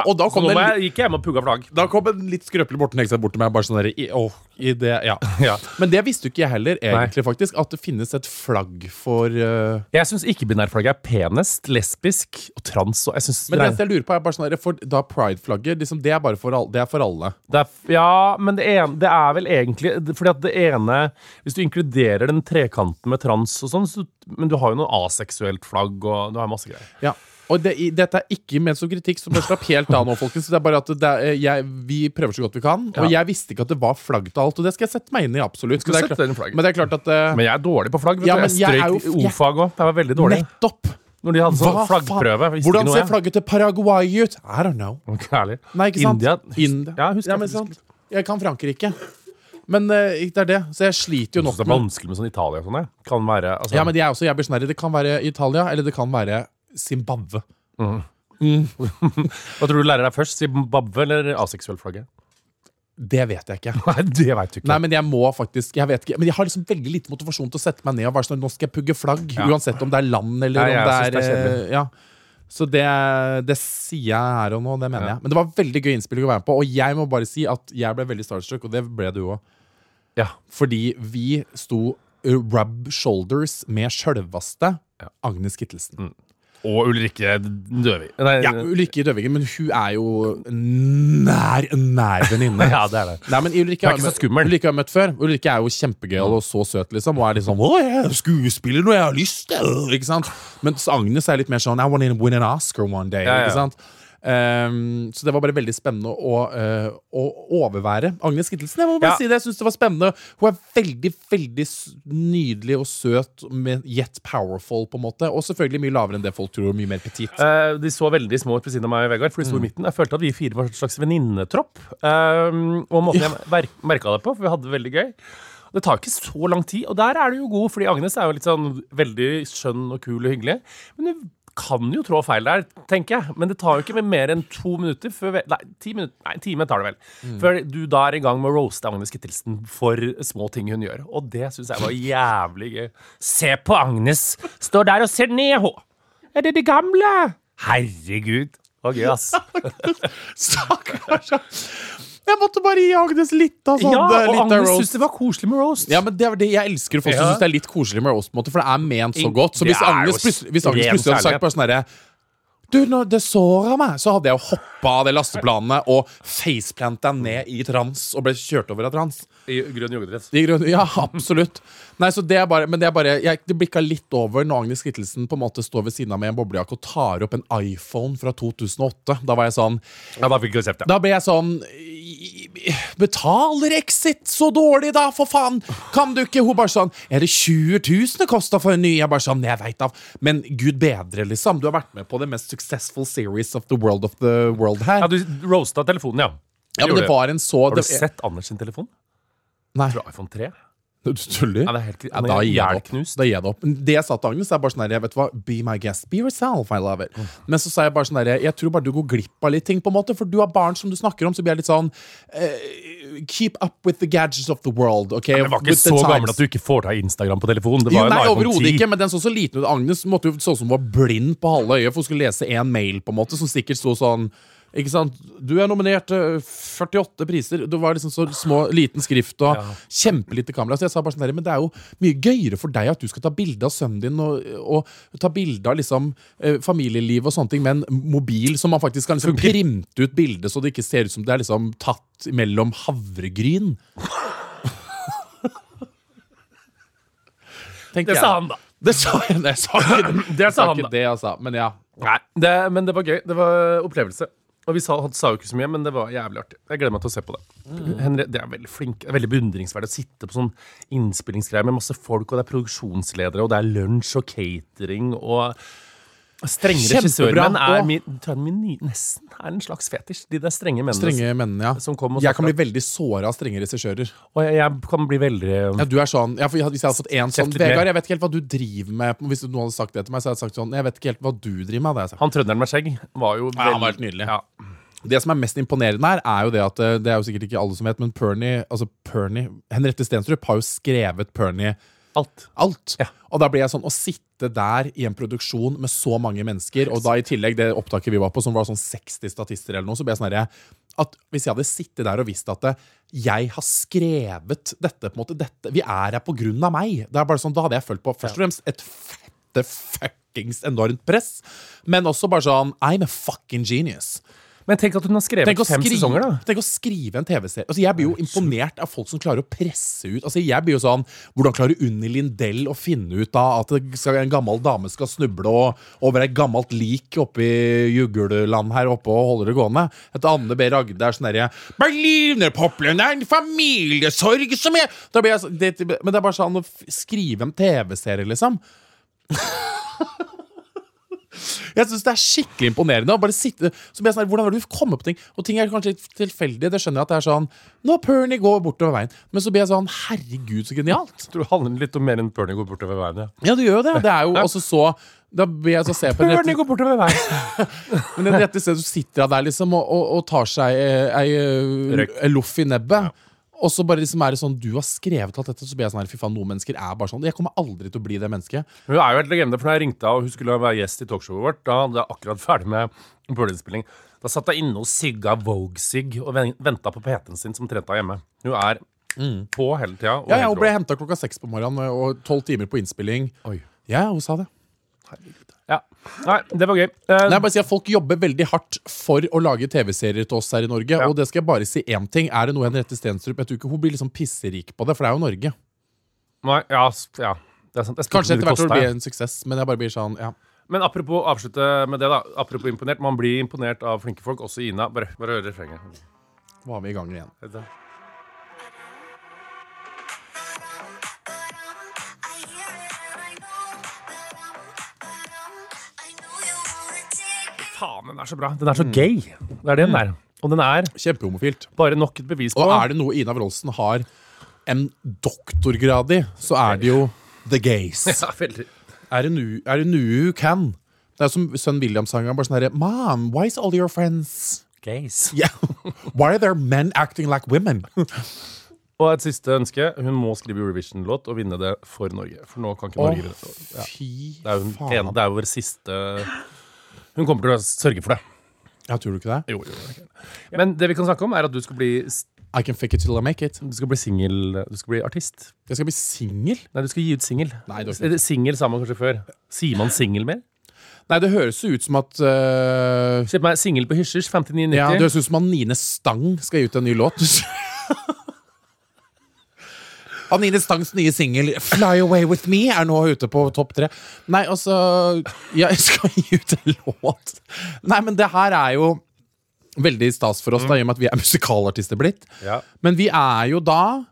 C: og da kom
B: så nå
C: det
B: må
C: en
B: jeg, gikk jeg hjem og pugga flagg.
C: Da kom en litt skrøpelig Morten Hegseth bort til meg. Bare sånn der, i, åh, i det, ja.
B: Ja.
C: Men det visste jo ikke jeg heller, egentlig, faktisk. At det finnes et flagg for eh,
B: Jeg syns ikke-binær-flagget er penest, lesbisk og trans. Og jeg synes
C: Men det eneste jeg lurer på, er bare sånn der, for da pride-flagget liksom, Det er bare for, all, det er for alle.
B: Det er, ja, men det, ene, det er vel egentlig det- Fordi at det ene Hvis du inkluderer den trekanten med trans og sånn, så, men du har jo noe aseksuelt flagg og du har masse greier.
C: Ja. Og det, i, dette er ikke ment som kritikk, som bare slapp helt av nå, folkens. Det er bare at det er, eh, jeg, vi prøver så godt vi kan. Og jeg visste ikke at det var flagg til alt, og det skal jeg sette meg inn i, absolutt.
B: Skal
C: Men det
B: sette
C: er klart-
B: deg inn i flagget.
C: men det er klart at eh,
B: Men jeg er dårlig på flagg. Vet
C: Ja,
B: du.
C: men
B: Jeg
C: jeg er
B: strøyk
C: jo-
B: i o-fag òg. Jeg var veldig dårlig.
C: Nettopp!
B: Når de hadde sånn
C: Hva faen?
B: flaggprøve. visste ikke
C: Hvordan
B: noe
C: ser
B: jeg.
C: flagget til Paraguay ut? I don't know.
B: Ok, ærlig.
C: Nei, ikke sant?
B: India.
C: India.
B: Ja, husker
C: Ja,
B: jeg
C: men
B: faktisk.
C: sant. Jeg kan Frankrike. Men eh, det er det. Så jeg sliter jo
B: Jeg synes Det
C: nok
B: er
C: med
B: vanskelig med sånn Italia og sånn. jeg. Kan være altså,
C: Ja, men jeg er også, jeg blir sånn her, Det kan være Italia, eller det kan være Zimbabwe.
B: Hva tror du lærer deg først? Zimbabwe eller aseksuelt flagget?
C: Det vet jeg ikke.
B: Nei, det veit du ikke.
C: Nei, men jeg må faktisk Jeg vet ikke Men jeg har liksom veldig lite motivasjon til å sette meg ned og være sånn Nå skal jeg pugge flagg,
B: Ja.
C: uansett om det er land eller
B: Nei, jeg
C: om
B: synes
C: det
B: det
C: er,
B: er
C: eh, ja. Så det, det sier jeg her og nå, det mener
B: Ja.
C: jeg. Men det var veldig gøy innspill å være med på, og jeg må bare si at jeg ble veldig starstruck, og det ble du òg.
B: Ja.
C: Fordi vi sto eh, rub shoulders med sjølveste Agnes Kittelsen.
B: Og Ulrikke Døvi. Nei,
C: Ja, Ulrikke Døvigen, men hun er jo nær, nær venninne.
B: Ja, det er det.
C: Nei, men Ulrikke
B: Hun er
C: har
B: ikke
C: jeg
B: så
C: møtt-
B: skummel.
C: Ulrikke har jeg møtt før. Ulrikke er jo kjempegøyal og så søt, liksom. Og er liksom 'Å, jeg er skuespiller når jeg har lyst', til», ikke sant? Mens Agnes er litt mer sånn 'I want to win an Oscar one day',
B: Ja, ja.
C: ikke sant? Ehm, så det var bare veldig spennende å, eh, å overvære Agnes Kittelsen. Jeg må bare
B: Ja.
C: si det, jeg synes det var spennende. Hun er veldig, veldig s- nydelig og søt, men yet powerful, på en måte. Og selvfølgelig mye lavere enn det folk tror, og mye mer petit.
B: Eh, de så veldig små ut ved siden av meg og Vegard, for de sto i midten. Jeg følte at vi fire var en slags venninnetropp. Um, og måten jeg merka det på, for vi hadde det veldig gøy. Og Det tar ikke så lang tid, og der er du jo god, fordi Agnes er jo litt sånn veldig skjønn og kul og hyggelig. Men hun kan jo trå feil der, tenker jeg. Men det tar jo ikke med mer enn to minutter før vi, Nei, ti minutter, nei, en time tar det vel. Før du da er i gang med å roaste Agnes Kittelsen for små ting hun gjør. Og det syns jeg var jævlig gøy. Se på Agnes! Står der og ser ned! hå. Er det det gamle? Herregud. Det var gøy, ass.
C: Stakkars. Jeg måtte bare gi Agnes litt av sånn
B: Ja,
C: eh,
B: og
C: litt av
B: Agnes
C: roast.
B: syns det var koselig med roast.
C: Ja, men det er det jeg elsker folk som
B: Ja.
C: syns det er litt koselig med roast, på en måte, for det er ment så
B: In-
C: godt. Så
B: det
C: hvis
B: er jo
C: Agnes, plutselig- hvis Agnes
B: ren
C: plutselig hadde
B: kjærlighet.
C: sagt bare sånn herre du, når det såra meg, så hadde jeg jo hoppa av det lasteplanet og faceplanta ned i trans og ble kjørt over av trans.
B: I grønn joggedress.
C: I grunn, ja, absolutt. Nei, så det er bare, men det er bare jeg, Det blikka litt over når Agnes Kittelsen på en måte står ved siden av med en boblejakke og tar opp en iPhone fra 2008. Da var jeg sånn
B: Ja, da fikk vi konsept, ja.
C: da ble jeg sånn i- i- Betaler Exit så dårlig, da, for faen! Kan du ikke Hun bare sånn Er det 20 000 det kosta for en ny? Jeg bare sånn Jeg veit da. Men gud bedre, liksom. Du har vært med på det mest successful series of the world of the world her.
B: ja du roasta telefonen, ja.
C: Ja, men
B: Gjorde
C: det var en så
B: Har du
C: det-
B: sett Anders sin telefon?
C: Nei.
B: Fra iPhone 3?
C: Du tuller?
B: Ja, det er helt kri-
C: Ja, da gir jeg det opp.
B: Hjelknust.
C: Da gir jeg det opp. Men Det jeg sa til Agnes, er bare sånn her, jeg vet du hva, be my guest, be yourself, I love it. Men så sa jeg bare sånn her, jeg tror bare du går glipp av litt ting, på en måte, for du har barn som du snakker om, så blir jeg litt sånn eh, Keep up with the gadgets of the world, OK?
B: Jeg var ikke så gammel at du ikke får deg Instagram på telefonen. Det
C: jo,
B: var jo
C: nei,
B: en iPhone 10.
C: overhodet ikke, men den så så liten ut. Agnes måtte jo sånn som hun var blind på halve øyet, for hun skulle lese en mail, på en måte, som sikkert sto sånn ikke sant? Du er nominert til 48 priser. Du var liksom så små, liten skrift og kjempelite kamera. Så jeg sa bare sånn der, Men det er jo mye gøyere for deg at du skal ta bilde av sønnen din og, og ta bilde av liksom eh, familieliv og sånne ting med en mobil som man faktisk kan liksom printe ut bildet så det ikke ser ut som det er liksom tatt mellom havregryn. Tenker
B: Det
C: jeg.
B: sa han, da.
C: Det sa jeg, nei, jeg sa ikke det.
B: Det sa
C: Jeg
B: han,
C: ikke
B: da.
C: det jeg sa, men ja.
B: Nei, det, men det var gøy. Det var opplevelse. Og vi sa, sa jo ikke så mye, men det var jævlig artig. Jeg gleder meg til å se på det.
C: Mm.
B: Henri, det er veldig flink, det er veldig beundringsverdig å sitte på sånn innspillingsgreier med masse folk, og det er produksjonsledere, og det er lunsj og catering og Strenge
C: Kjempebra,
B: regissørmenn er
C: og-
B: min, tror jeg er min, ny- nesten er en slags fetisj. De der strenge mennene.
C: Strenge mennene, ja.
B: Som kom og
C: jeg kan
B: snakket.
C: bli veldig såra av strenge regissører.
B: Og jeg, jeg kan bli veldig um,
C: Ja, du er sånn, ja, for jeg- Hvis jeg hadde fått én sånn
B: Kjeftet ned.
C: Vegard, jeg vet ikke helt hva du driver med. Hvis noen hadde sagt det til meg, så hadde jeg sagt sånn Jeg vet ikke helt hva du driver med. hadde jeg sagt.
B: Han trønderen med skjegg var jo
C: Ja, han var
B: veld-
C: helt nydelig.
B: Ja.
C: Det som er mest imponerende her, er jo det at eh, Det er jo sikkert ikke alle som vet, men Pernie, altså Pernie Henriette Stenstrup har jo skrevet Pernie
B: Alt.
C: alt.
B: Ja.
C: Og da blir jeg sånn Å sitte der i en produksjon med så mange mennesker, og da i tillegg det opptaket vi var på, som var sånn 60 statister eller noe, så ble jeg sånn herre at Hvis jeg hadde sittet der og visst at eh, jeg har skrevet dette på en måte, dette, Vi er her på grunn av meg. Det er bare sånn, Da hadde jeg følt på først og fremst et fette fuckings enormt press, men også bare sånn I'm a fucking genius.
B: Men tenk at hun har skrevet
C: Tenk å,
B: fem
C: skrive,
B: sesonger, da.
C: tenk å skrive en TV-serie. Altså, jeg blir jo imponert av folk som klarer å presse ut. Altså, jeg blir jo sånn Hvordan klarer Unni Lindell å finne ut av at det skal, en gammel dame skal snuble og, over et gammelt lik oppe i jugleland her oppe og holde det gående? Et Anne B. Ragde er sånn derre Berlinerpoplene er en familiesorg som jeg da blir jeg så, det, Men det er bare sånn å f- skrive en TV-serie, liksom. Jeg synes det er skikkelig imponerende. å Bare sitte, så blir jeg sånn, her, hvordan har du kommet på ting? Og ting er kanskje litt tilfeldige. Det skjønner jeg at det er sånn Nå Pernie går bortover veien. Men så blir jeg sånn Herregud, så genialt.
B: tror det handler litt om mer enn Bernie går bortover veien. Ja.
C: Ja, det gjør jo det. Det er jo også så Da blir jeg så se på en rett,
B: går bortover veien.
C: men en rette sted, så sitter jeg der liksom og, og, og tar seg eh, ei, eh,
B: Røyk.
C: ei loff i nebbet. Og så bare liksom er det sånn Du har skrevet alt dette, så blir jeg sånn her, fy faen, noen mennesker er bare sånn. Jeg kommer aldri til å bli det mennesket.
B: Hun er jo helt legende, for da jeg ringte henne, og hun skulle være gjest i talkshowet vårt, da hadde jeg akkurat ferdig med Bernie-innspilling. Da satt jeg inne og sigga Vogue-sigg og venta på PT-en sin, som trente henne hjemme. Hun er på hele tida. og
C: Ja, ja,
B: helt
C: Hun ble
B: rå.
C: henta klokka seks på morgenen eh, og tolv timer på innspilling.
B: Oi.
C: Ja, hun sa det.
B: Ja. Nei, det var gøy. Eh,
C: Nei, jeg bare sier at Folk jobber veldig hardt for å lage TV-serier til oss her i Norge. Og det skal jeg bare si én ting. Er det noe Henriette Stenstrup Jeg tror ikke hun blir liksom pisserik på det, for det er jo Norge.
B: nei, ja, s- ja. Det er sant. Jeg spurte
C: Kanskje
B: hvor
C: etter hvert
B: det
C: vil det
B: kostet.
C: bli en suksess, men jeg bare blir sånn ja.
B: Men apropos avslutte med det, da. Apropos imponert. Man blir imponert av flinke folk, også Ina. Bare, bare hør refrenget.
C: Var vi i gang igjen?
B: Faen, den er så bra. Den er
C: Mm.
B: så gay. Det er det den er. Og den er
C: Kjempehomofilt.
B: bare nok et bevis på
C: Mm. Og er det noe Ina Wroldsen har en doktorgrad i, så er det jo the gays.
B: ja, veldig.
C: Er det nu- er det noe hun kan, Det er jo som sønnen William-sangeren. Bare sånn herre Mom, why is all your friends
D: Gays.
C: yeah. Why are there men acting like women?
B: Og et siste ønske. Hun må skrive Eurovision-låt og vinne det for Norge. For nå kan ikke Norge vinne. det. Ja.
C: Fy
B: Det er jo hun
C: faen.
B: ene, det er jo vår siste Hun kommer til å sørge for det.
C: Ja, tror du ikke det?
B: Jo, jo, ok. Men det vi kan snakke om, er at du skal bli, s-
C: I can fake it till I make it.
B: du skal bli singel Du skal bli artist.
C: Jeg skal bli singel.
B: Nei, du skal gi ut singel.
C: Nei, det var ikke-
B: Eller Singel sa man kanskje før. Sier man singel mer?
C: Nei, det høres jo ut som at øh,
B: Kjøp meg singel på Hyssers,
C: Ja, det
B: 59,90.
C: høres ut som at Nine Stang skal gi ut en ny låt. Anine Stangs nye singel 'Fly Away With Me' er nå ute på topp tre. Nei, altså ja, Jeg skal gi ut en låt. Nei, men det her er jo veldig stas for oss, da, i og med at vi er musikalartister blitt.
B: Ja.
C: Men vi er jo da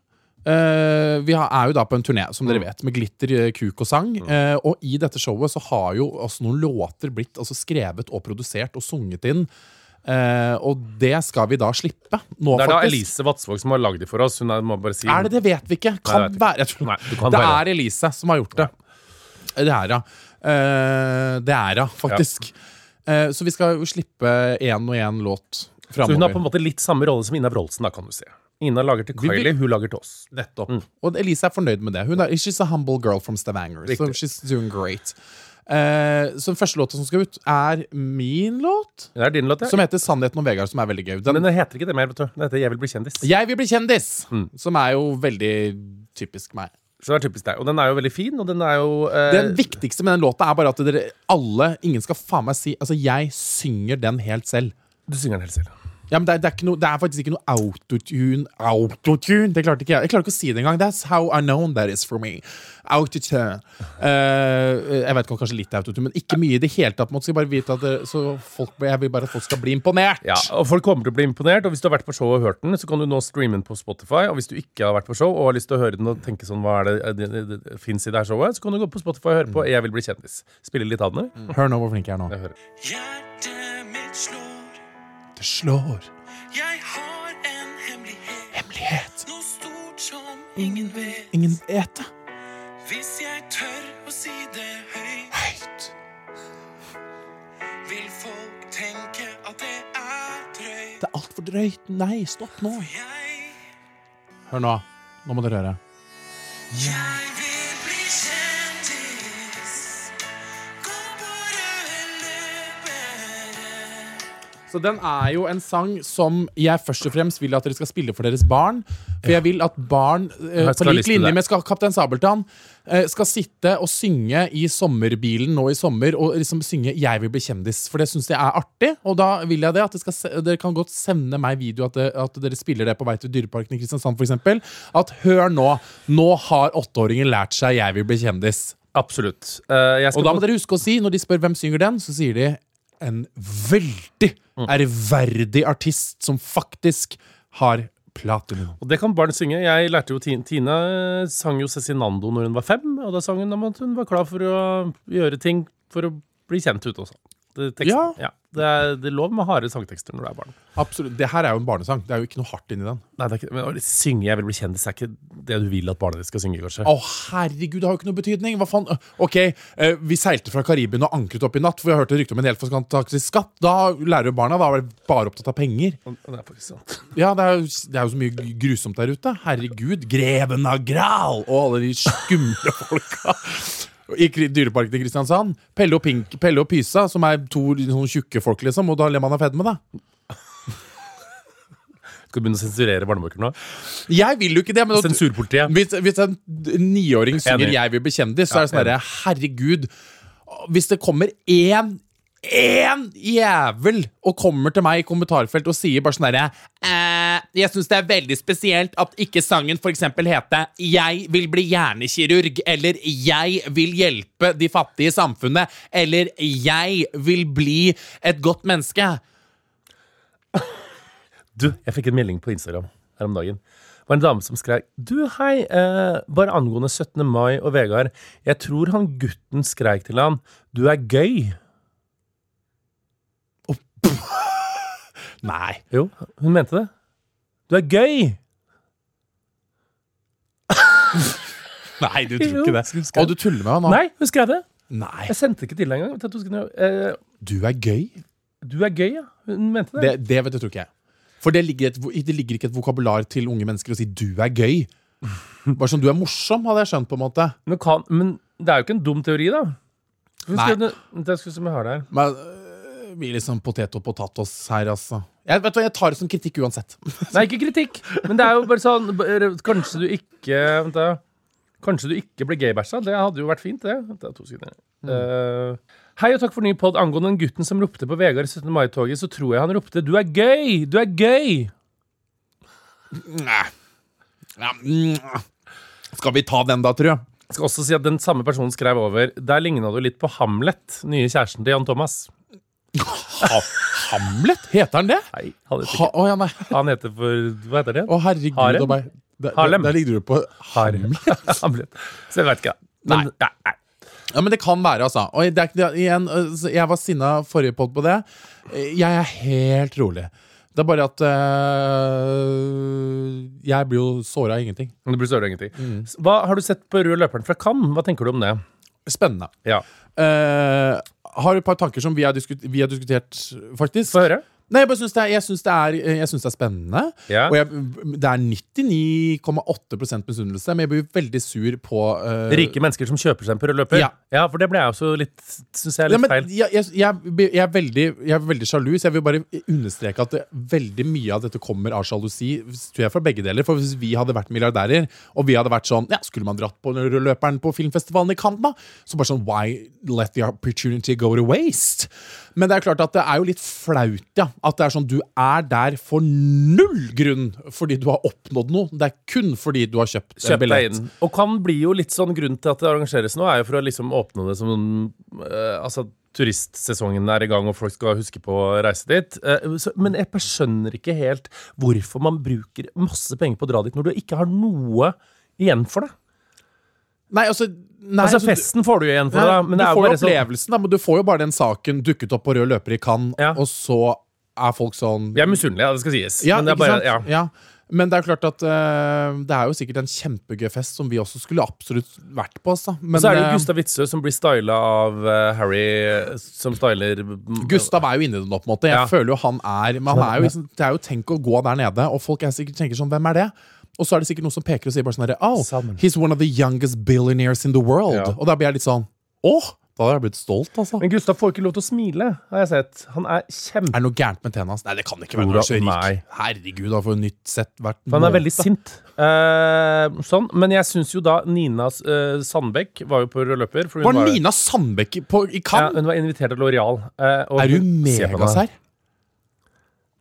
C: eh, vi har- er jo da på en turné, som
B: Mm.
C: dere vet, med glitter, eh, kuk og sang. Eh, og i dette showet så har jo også noen låter blitt altså, skrevet og produsert og sunget inn. Eh, og det skal vi da slippe nå,
B: Det er da
C: faktisk.
B: Elise Vatsvåg som har lagd det for oss. Hun er, må bare si
C: Er det det? Vet vi ikke. Kan
B: Nei, det vet
C: være. Jeg tror,
B: Nei, det kan
C: det
B: være.
C: er Elise som har gjort det. Det er hun. Eh, det er hun, faktisk. Eh, så vi skal jo slippe én og én låt
B: Så hun har på en
C: framover.
B: måte litt samme rolle som Ina Wroldsen, da, kan du si. Ina lager til
C: Vi- vi-
B: Kylie, hun lager til oss.
C: Nettopp. Mm. Og Elise er fornøyd med det. Hun er, she's a humble girl from Stavanger. So
B: Riktig.
C: she's doing great. Eh, så den første låta som skal ut, er min låt.
B: Det er din låt, ja.
C: Som heter 'Sannheten om Vegard', som er veldig gøy. Den
B: Men eh, det heter ikke det mer, vet du. Det heter Jeg vil bli kjendis.
C: Jeg vil bli kjendis!
B: Mm.
C: Som er jo veldig typisk meg.
B: Så det er typisk deg. Og den er jo veldig fin, og den er jo eh,
C: Det viktigste med den låta er bare at dere alle Ingen skal faen meg si Altså, jeg synger den helt selv.
B: Du synger den helt selv.
C: Ja, men det er, det er, ikke noe, det er faktisk ikke noe autotune. Autotune! Det klarte ikke jeg. Jeg klarer ikke å si det engang. That's how I know that is for me. Autotune. Eh, jeg vet ikke, kanskje litt autotune, men ikke mye i det hele tatt. Man skal bare vite at det, så folk, jeg vil bare at folk skal bli imponert.
B: Ja, og Folk kommer til å bli imponert. Og hvis du har vært på show og hørt den, så kan du nå streame den på Spotify. Og hvis du ikke har vært på show og har lyst til å høre den og tenke sånn, hva er det, det, det, det fins i det her showet, så kan du gå på Spotify og høre på Jeg vil bli kjendis. Spille litt av den. eller?
C: Hør nå hvor flink jeg er nå.
B: Jeg hører.
E: Hjertet mitt slår,
C: Det slår
E: jeg har en hemmelighet.
C: hemmelighet.
E: Noe stort som ingen vet.
C: Ingen vet det.
E: Hvis jeg tør å si det høyt,
C: Høyt.
E: vil folk tenke at det er drøyt.
C: Det er altfor drøyt. Nei, stopp nå.
E: Jeg,
C: Hør nå. Nå må dere høre.
E: jeg vil bli kjendis. Gå på røde løpere.
C: Så den er jo en sang som jeg først og fremst vil at dere skal spille for deres barn. For jeg vil at barn, eh,
B: Jeg
C: på
B: skal ha lyst
C: lik
B: til
C: linje
B: det.
C: med ska- Kaptein Sabeltann, eh, skal sitte og synge i sommerbilen nå i sommer og liksom synge 'Jeg vil bli kjendis'. For det syns jeg er artig, og da vil jeg det. At det skal, se- dere kan godt sende meg video at, det, at dere spiller det på vei til Dyreparken i Kristiansand, f.eks. At hør nå, nå har åtteåringen lært seg 'Jeg vil bli kjendis'.
B: Absolutt. Eh, jeg
C: Og
B: skal
C: da må dere huske å si, når de spør hvem synger den, så sier de en veldig ærverdig artist som faktisk har platinum.
B: Og det kan barn synge. Jeg lærte jo Tine, Tina eh, sang jo Cezinando når hun var fem, og da sang hun om at hun var klar for å gjøre ting for å bli kjent ute også. Det, teksten,
C: Ja.
B: ja. det, er, det er lov med harde sangtekster når du er barn.
C: Absolutt. Det her er jo en barnesang. Det er jo ikke noe hardt inni den.
B: Nei, det er ikke, men å synge 'Jeg vil bli kjendis' er ikke det du vil at barnet ditt skal synge, kanskje.
C: Å, herregud, det har jo ikke noe betydning! Hva faen? Ok, eh, vi seilte fra Karibien og anket opp i natt, for jeg hørte rykte om en helt fantastisk skatt. Da lærer jo barna da å være bare opptatt av penger.
B: Det er faktisk sant.
C: Ja, det er, jo, det er jo så mye grusomt der ute. Herregud, Greven av Gral og alle de skumle folka. I Kri- Dyreparken i Kristiansand. Pelle og, Pink, Pelle og Pysa, som er to sånne tjukke folk, liksom. Og da ler man av fedme, da.
B: Skal du begynne å sensurere barnebøker nå?
C: Jeg vil jo ikke det, men at-
B: Sensurpolitiet.
C: hvis, hvis en niåring synger
B: Enig.
C: 'Jeg vil bli kjendis', så er det sånn derre Herregud. Hvis det kommer én én jævel og kommer til meg i kommentarfelt og sier bare sånn derre eh, Jeg syns det er veldig spesielt at ikke sangen f.eks. heter 'Jeg vil bli hjernekirurg' eller 'Jeg vil hjelpe de fattige i samfunnet' eller 'Jeg vil bli et godt menneske'.
B: Du, jeg fikk en melding på Instagram her om dagen. Det var en dame som skrev Du, hei, eh, bare angående 17. mai og Vegard. Jeg tror han gutten skreik til han Du er gøy.
C: Nei.
B: Jo, hun mente det. Du er gøy!
C: Nei, du tror
B: Jo,
C: ikke det.
B: skal du skrive-
C: Og du tuller med meg nå.
B: Nei, hun skrev det.
C: Nei,
B: Jeg sendte det ikke til deg engang. Vet du, at du skulle- eh,
C: du er gøy.
B: Du er gøy, ja. Hun mente det.
C: Det, det vet jeg, tror ikke jeg. For det ligger, et, det ligger ikke et vokabular til unge mennesker å si 'du er gøy'. Bare sånn 'du er morsom', hadde jeg skjønt. på en måte
B: Men, kan, men det er jo ikke en dum teori, da. Skal vi
C: Nei.
B: se- Det skal vi se om jeg har det her.
C: Men øh, vi er liksom potet og potatos her, altså. Jeg, vet du, hva, jeg tar det som kritikk uansett.
B: Nei, ikke kritikk, men det er jo bare sånn bare, Kanskje du ikke vent da, Kanskje du ikke ble gaybæsja. Det hadde jo vært fint, det. Vent da, to sekunder. Eh, Hei og takk for ny pod angående den gutten som ropte på Vegard i 17. mai-toget. Så tror jeg han ropte 'du er gøy', 'du er gøy'.
C: Nei. Ja, mm. Skal vi ta den, da, tror jeg?
B: Jeg skal også si at den samme personen skrev over 'der ligna du litt på Hamlet', nye kjæresten til Jan Thomas.
C: Ha Hamlet? Heter han det?
B: Nei, han heter,
C: Ha
B: ikke.
C: å ja, nei.
B: Han heter for Hva heter det?
C: Å, herregud.
B: Harem?
C: og meg. Der, der,
B: Harlem.
C: der ligger du på Harlem.
B: Hamlet. Så jeg vet ikke, da. Men, nei. Nei,
C: Ja, men det kan være, altså. Og det er ikke, det er, igjen, øh, så jeg var sinna forrige podd på det. Eh, Jeg er helt rolig. Det er bare at øh, Jeg blir jo såra av ingenting.
B: Men Det blir større ingenting.
C: Mm.
B: Hva har du sett på rød løperen fra Cannes? Hva tenker du om det?
C: Spennende.
B: Ja.
C: Eh, har et par tanker som vi har, diskut vi har diskutert, faktisk.
B: Få høre.
C: Nei, jeg bare syns det er, jeg synes det, er, eh, jeg synes det er spennende.
B: Ja.
C: Og jeg, det er 99,8 misunnelse, men jeg blir veldig sur på eh,
B: Rike mennesker som kjøper seg en på rød løper?
C: Ja.
B: for det ble jeg også litt Syns jeg er
C: Nei,
B: litt
C: men
B: feil.
C: jeg, jeg, jeg, blir- jeg, er veldig, jeg er veldig sjalu, så jeg vil bare understreke at det, veldig mye av dette kommer av sjalusi. tror jeg, fra begge deler. For hvis vi hadde vært milliardærer, og vi hadde vært sånn ja, Skulle man dratt på den røde løperen på filmfestivalen i Cannes, da? Så bare sånn Why let the opportunity go to waste? Men det er klart at det er jo litt flaut, ja. At det er sånn Du er der for null grunn fordi du har oppnådd noe. Det er kun fordi du har kjøpt, en
B: Kjøp deg
C: billett.
B: inn. Og kan bli jo litt sånn grunnen til at det arrangeres nå, er jo for å liksom åpne det som eh, Altså, turistsesongen er i gang, og folk skal huske på å reise dit. Eh, så, men jeg bare skjønner ikke helt hvorfor man bruker masse penger på å dra dit når du ikke har noe igjen for det.
C: Nei, altså, nei,
B: Altså,
C: altså, du-
B: festen får du jo igjen for det,
C: Nei,
B: da, men det
C: du
B: er jo
C: får jo
B: bare sånn
C: opplevelsen, da, men du får jo bare den saken dukket opp på rød løper i Cannes,
B: Ja.
C: og så er folk sånn
B: Vi er misunnelige, ja, det skal sies.
C: Ja,
B: men det er
C: ikke
B: bare
C: sant?
B: ja.
C: Men det er klart at eh, det er jo sikkert en kjempegøy fest som vi også skulle absolutt vært på. Altså. Men,
B: Og så er det
C: eh,
B: jo Gustav Witzøe som blir styla av eh, Harry, eh, som styler
C: Gustav er jo inne i det nå, på en måte. Jeg
B: Ja.
C: føler jo han er Men han er jo, liksom- det er jo tenk å gå der nede, og folk er sikkert tenker sånn Hvem er det? Og så er det sikkert noen som peker og sier bare sånn herre Oh,
B: Sammen.
C: he's one of the youngest billionaires in the world.
B: Ja.
C: Og da blir jeg litt sånn Åh! Da hadde jeg blitt stolt, altså.
B: Men Gustav får ikke lov til å smile, har jeg sett. Han er
C: Er
B: kjempe...
C: det noe gærent med tennene hans? Nei, det kan det ikke være.
B: Ola,
C: når du er så
B: nei.
C: rik. Herregud, han får jo nytt sett hvert
B: For han er
C: måned.
B: veldig sint. Eh, sånn. Men jeg syns jo da Nina eh, Sandbekk var jo på rød løper. For hun
C: Var
B: var,
C: Nina Sandbeck på, i
B: Ja,
C: Cannes?
B: hun var invitert av Loreal. eh, og
C: er hun
B: se på henne.
C: megasær?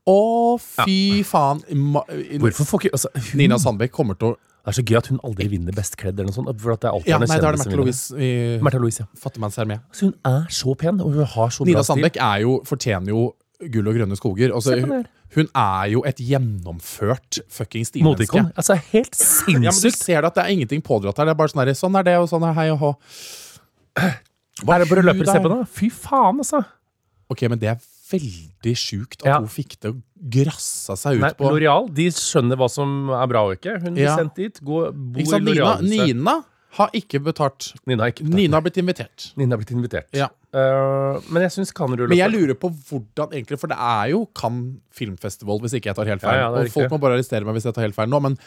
C: Å, fy faen. Ma
B: Hvorfor får ikke altså, hun,
C: Nina Sandbeck kommer til å
B: Det er så gøy at hun aldri vinner Best kledd eller noe sånt. For at det er alltid
C: Ja,
B: hennes
C: nei, da er det
B: kjendiser som
C: Märtha
B: vinner.
C: Louise i
B: Märtha Louise, ja.
C: Fattigmannshermé.
B: Så hun er så pen, og hun har så bra
C: Nina
B: stil.
C: Sandbeck er jo, fortjener jo gull og grønne skoger. Altså,
B: Se på det
C: hun,
B: her.
C: hun er jo et gjennomført fucking stilmenneske.
B: Moteikon. Altså, helt
C: Ja, men du
B: sinnssykt.
C: ser det at det er ingenting pådratt her. Det er bare sånn her, sånn er det, og sånn er hei og hå.
B: Hva er det bare
C: sju
B: løper og
C: der?
B: ser på henne? Fy faen, altså.
C: Ok, men det er veldig sjukt at
B: Ja.
C: hun fikk det og grassa seg ut
B: Nei,
C: på
B: L'Oreal de skjønner hva som er bra og ikke. Hun blir
C: Ja.
B: sendt dit, gå, bo
C: Ikke sant,
B: i
C: Nina,
B: L'Oreal-huset.
C: Nina har ikke betalt.
B: Nina har ikke betalt.
C: Nina har blitt invitert.
B: Nina har blitt invitert.
C: Ja.
B: Eh, men jeg syns kan rulle
C: Men jeg lurer på hvordan egentlig For det er jo Cannes Filmfestival, hvis ikke jeg tar helt feil.
B: Ja, ja, det er
C: og folk
B: riktig.
C: må bare arrestere meg hvis jeg tar helt feil nå. Men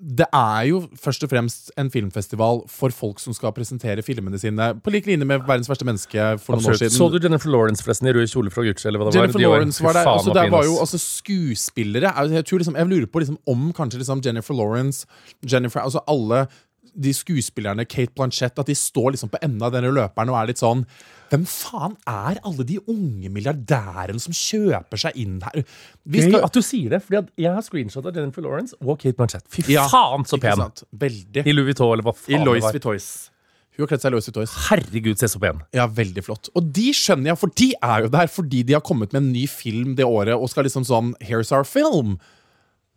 C: det er jo først og fremst en filmfestival for folk som skal presentere filmene sine på lik linje med Verdens verste menneske for noen år
B: Absolutt.
C: siden.
B: Så du Jennifer Lawrence forresten i rød kjole fra Gucci? Eller hva det
C: Jennifer
B: var? De
C: Lawrence
B: fy
C: var der.
B: faen,
C: altså,
B: hva
C: der
B: fin,
C: var
B: ass.
C: jo altså, skuespillere jeg, jeg, tror, liksom, jeg lurer på liksom, om kanskje liksom, Jennifer Lawrence, Jennifer, altså alle de skuespillerne, Kate Blanchett, at de står liksom på enden av denne løperen og er litt sånn Hvem faen er alle de unge milliardærene som kjøper seg inn her? Vi
B: Gøy
C: skal,
B: At du sier det, fordi at jeg har screenshot av Jennifer Lawrence og Kate Blanchett. Fy
C: Ja,
B: faen, så
C: ikke
B: pen!
C: sant? Veldig.
B: I Louis Vuitton, eller hva faen det var.
C: Vuittois. Hun har kledd seg i Louis Vuitton.
B: Herregud, se så pen.
C: Ja, veldig flott. Og de skjønner jeg, for de er jo der fordi de har kommet med en ny film det året og skal liksom sånn Here's our film.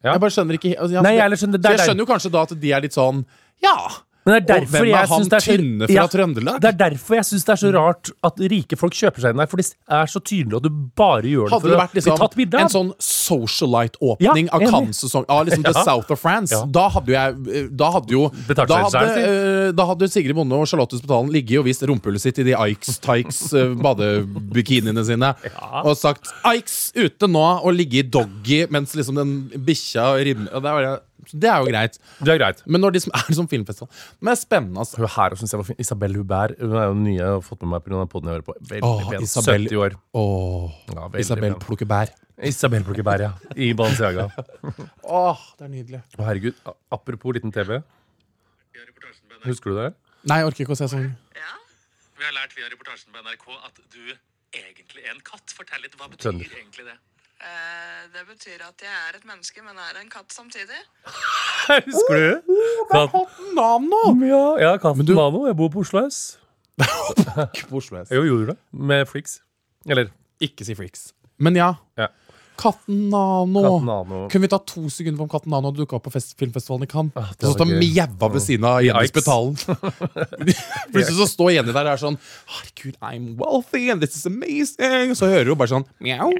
B: Ja.
C: Jeg bare skjønner ikke altså, ja,
B: Nei, jeg
C: så det-
B: heller skjønner- det
C: Så
B: er
C: jeg
B: der-
C: skjønner jo kanskje da at de er litt sånn Ja,
B: Men det er
C: Og
B: derfor
C: hvem
B: jeg
C: er han
B: synes det er så-
C: tynne fra
B: Ja,
C: Trøndelag?
B: Det er derfor jeg syns det er så rart at rike folk kjøper seg inn der, for det er så tydelig at du bare gjør det
C: Hadde
B: for
C: det
B: å
C: vært liksom,
B: bli tatt bilde av.
C: en sånn socialite-åpning
B: Ja,
C: av
B: enig.
C: Cannes-sesong av liksom The
B: Ja.
C: South of France,
B: Ja.
C: da hadde jo jeg eh, Da hadde jo
B: Betalt
C: da
B: seg
C: hadde,
B: selv,
C: eh, da hadde Sigrid Bonde og Charlotte Spetalen ligget og vist rumpehullet sitt i de Ikes Tykes eh, badebikiniene sine og sagt 'Ikes ute nå' og ligge i doggy mens liksom den bikkja rimmer og det, er jo- det er jo greit.
B: Det er greit.
C: Men når de som er som filmfestival Men det er spennende, altså.
B: Hun her synes jeg var fin. Isabel Hubert hun er jo den nye jeg har fått med meg pga. podden jeg hører på. Veldig
C: Åh,
B: pen.
C: Isabel.
B: 70 år.
C: Åh,
B: Ja, veldig
C: Isabel
B: pen.
C: plukker bær.
B: Isabel plukker bær, ja. I Balenciaga. Å,
C: Åh, det er nydelig.
B: herregud. a- Apropos liten TV. Husker du det? her?
C: Nei, jeg orker ikke å se sånn.
D: Vi har lært via reportasjen på NRK at du egentlig er en katt. Fortell litt, hva betyr
B: Trønder.
D: egentlig det?
F: Eh, Det betyr at jeg er et menneske, men er en katt samtidig.
B: Husker du? Katten Ja, ja katten
C: du-
B: Nano. Jeg bor på Oslo S. Jo, gjorde du det? Med Flix. Eller
C: Ikke si freaks. Men ja.
B: Ja.
C: Katten Nano.
B: Katten Nano.
C: Kunne vi ta to sekunder på om Katten Nano dukka opp på fest filmfestivalen i Cannes?
B: Ah, det
C: og så
B: var
C: står
B: gøy.
C: mjæva ved siden av Jenny
B: Yikes.
C: Spetalen. Plutselig så står Jenny der og er sånn Herregud, I'm wealthy and this is amazing. Og så hører hun bare sånn mjau.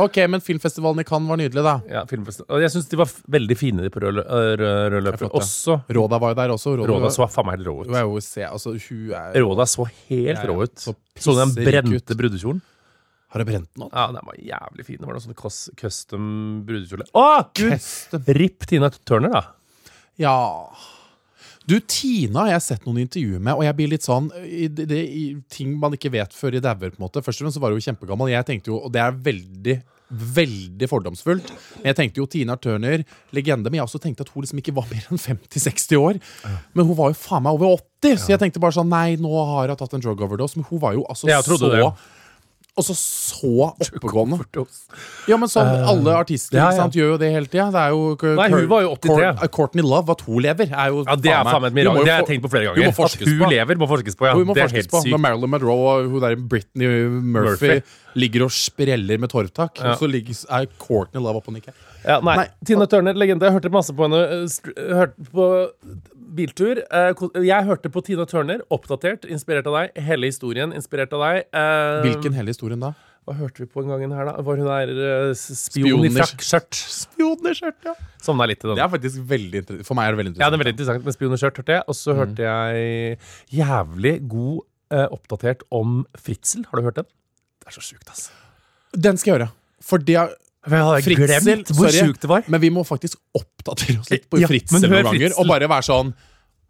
C: Ok, men filmfestivalen i Cannes var nydelig, da.
B: ja, filmfest. Og jeg syns de var f veldig fine, de på rød lø- øh, rød rød løper.
C: flott, ja.
B: Også
C: Råda var jo der også.
B: Råda så faen meg helt rå ut.
C: Hun er jo se, altså, hun er,
B: Råda så helt
C: Ja, ja.
B: rå ut.
C: Så
B: Så du den
C: pisserik ut.
B: brente brudekjolen?
C: Har hun brent den opp?
B: Ja, den var jævlig fin. Det var noe sånn cus- custom brudekjole. Å, gud! Ripp Tina Turner, da.
C: Ja Du, Tina har jeg sett noen intervjuer med, og jeg blir litt sånn i, det- det, i Ting man ikke vet før i dauer, på en måte. Først og fremst så var hun jo kjempegammel. Jeg tenkte jo, og det er veldig Veldig fordomsfullt. Men Jeg tenkte jo Tina Turner, legende, men jeg også tenkte at hun liksom ikke var mer enn 50-60 år. Men hun var jo faen meg over 80, så jeg tenkte bare sånn Nei, nå har hun tatt en drug overdose. Men hun var jo altså
B: Jeg trodde det.
C: så Og så så oppegående. Ja, men sånn, alle artister
B: Eh, ja,
C: ikke
B: ja.
C: sant, gjør jo det hele tida.
B: Nei, hun var jo 83.
C: Courtney Love, at hun lever, er jo
B: Ja, Det er faen meg et mirakel. Det har jeg tenkt på flere ganger.
C: Hun
B: At
C: må forskes
B: hun
C: på.
B: lever, må forskes på. Ja.
C: Hun må
B: det er helt
C: forskes på. Når
B: sykt.
C: Marilyn Monroe og hun der Britney Murphy,
B: Murphy.
C: ligger og spreller med torvtak,
B: Ja.
C: og så ligger, er Courtney Love oppå og nikker.
B: Ja, nei.
C: Nei.
B: Tina Turner, legende. Jeg hørte masse på henne eh, str- hørte på biltur. Eh, ko- Jeg hørte på Tina Turner, oppdatert, inspirert av deg. Hele historien, inspirert av deg. Eh,
C: Hvilken hele historien da?
B: Hva hørte vi på en gang her, da? Var hun der eh, s- spion
C: Spion i
B: i frakkskjørt?
C: Spionerskjørt, ja.
B: Sovna litt i den.
C: Det er faktisk veldig interessant. For meg er det veldig
B: Ja, det
C: interessant.
B: er veldig interessant med spionerskjørt, hørte jeg. Og så hørte jeg jævlig god eh, oppdatert om Fritzel. Har du hørt den? Det er så sjukt, ass.
C: Den skal jeg gjøre. For det er
B: Jeg hadde glemt hvor
C: sorry,
B: sjukt det var.
C: Men vi må faktisk oppdatere oss litt på
B: Ja,
C: Fritzel
B: men hør
C: noen ganger,
B: Fritzel.
C: og bare være sånn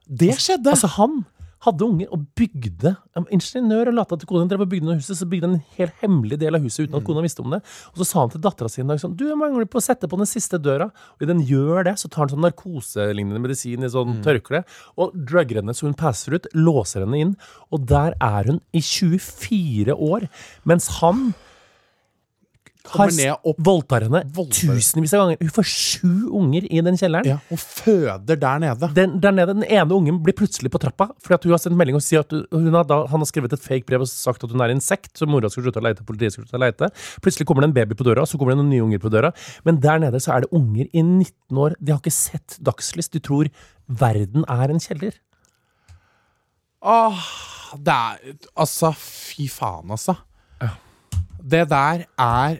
C: Det skjedde!
B: Altså, han hadde unger og bygde Han var Ingeniør og lata til kona drev og bygde noe huset, så bygde han en helt hemmelig del av huset uten
C: Mm.
B: at kona visste om det. Og så sa han til dattera si en dag sånn Du, jeg mangler på å sette på den siste døra. Og idet den gjør det, så tar han sånn narkoselignende medisin i
C: Mm.
B: sånn tørkle og drugger henne så hun passer ut, låser henne inn, og der er hun i 24 år, mens han har
C: Kommer ned og
B: voldtar henne
C: voldtar.
B: tusenvis av ganger. Hun får sju unger i den kjelleren
C: Ja, og føder der nede.
B: den, der nede, den ene ungen blir plutselig på trappa fordi at hun har sendt melding og sier at hun, hun har da, han har skrevet et fake brev og sagt at hun er insekt, så mora skal slutte å leite, politiet skal slutte å leite. Plutselig kommer det en baby på døra, og så kommer det noen nye unger på døra. Men der nede så er det unger i 19 år. De har ikke sett dagslys. De tror verden er en kjeller.
C: Åh, det er Altså, fy faen, altså. Det der er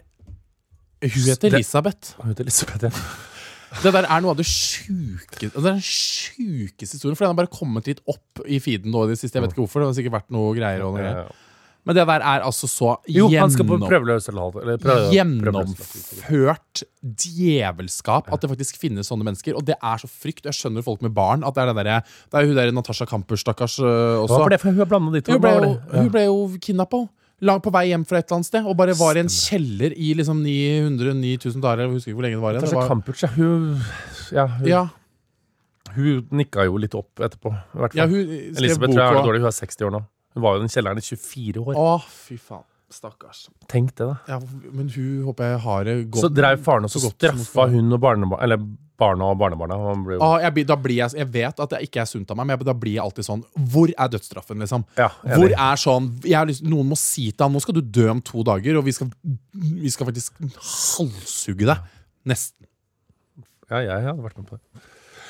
C: Hun heter
B: Det-
C: Elisabeth.
B: Hun heter Elisabeth, ja.
C: Det der er noe av det sjukeste Det er den sjukeste historien. For den har bare kommet litt opp i feeden nå i det siste. Jeg vet ikke hvorfor. Det har sikkert vært noe greier og noe greier. Men det der er altså så
B: Jo, han skal på
C: gjennom,
B: prøveløslatelse. eller prøve- prøveløslatelse.
C: gjennomført djevelskap at det faktisk finnes sånne mennesker. Og det er så frykt. Jeg skjønner folk med barn. At det er den derre Det er jo hun der Natasha Kampusch, stakkars, øh,
B: Hva
C: også.
B: var det for hun har blanda de to?
C: Hun ble
B: Hva var
C: jo,
B: det?
C: hun ble jo kidnappa. Langt på vei hjem fra et eller annet sted. Og bare var i en kjeller i liksom 900-9000 dager. Jeg husker ikke hvor lenge det var igjen. Det
B: Natasha
C: var,
B: Kampuch, ja. Hun, ja, hun,
C: ja,
B: hun nikka jo litt opp etterpå. I hvert fall.
C: ja, hun skrev
B: Elisabeth tror jeg har det
C: bok og
B: dårlig. Hun er 60 år nå. Hun var jo i den kjelleren i 24 år.
C: Å, fy faen. Stakkars.
B: Tenk det, da.
C: Ja, men hun håper jeg har det godt.
B: Så dreiv faren og så
C: så godt som hun
B: straffa
C: skal.
B: hun og barnebarna Eller barna og barnebarna. Han ble jo
C: Å, jeg, blir- da blir jeg, jeg vet at det ikke er sunt av meg, men jeg, da blir jeg alltid sånn Hvor er dødsstraffen, liksom?
B: Ja, enig.
C: Hvor er sånn jeg har lyst, Noen må si til ham nå skal du dø om to dager, og vi skal, vi skal faktisk halshugge deg. Nesten.
B: Ja, jeg hadde vært med på det.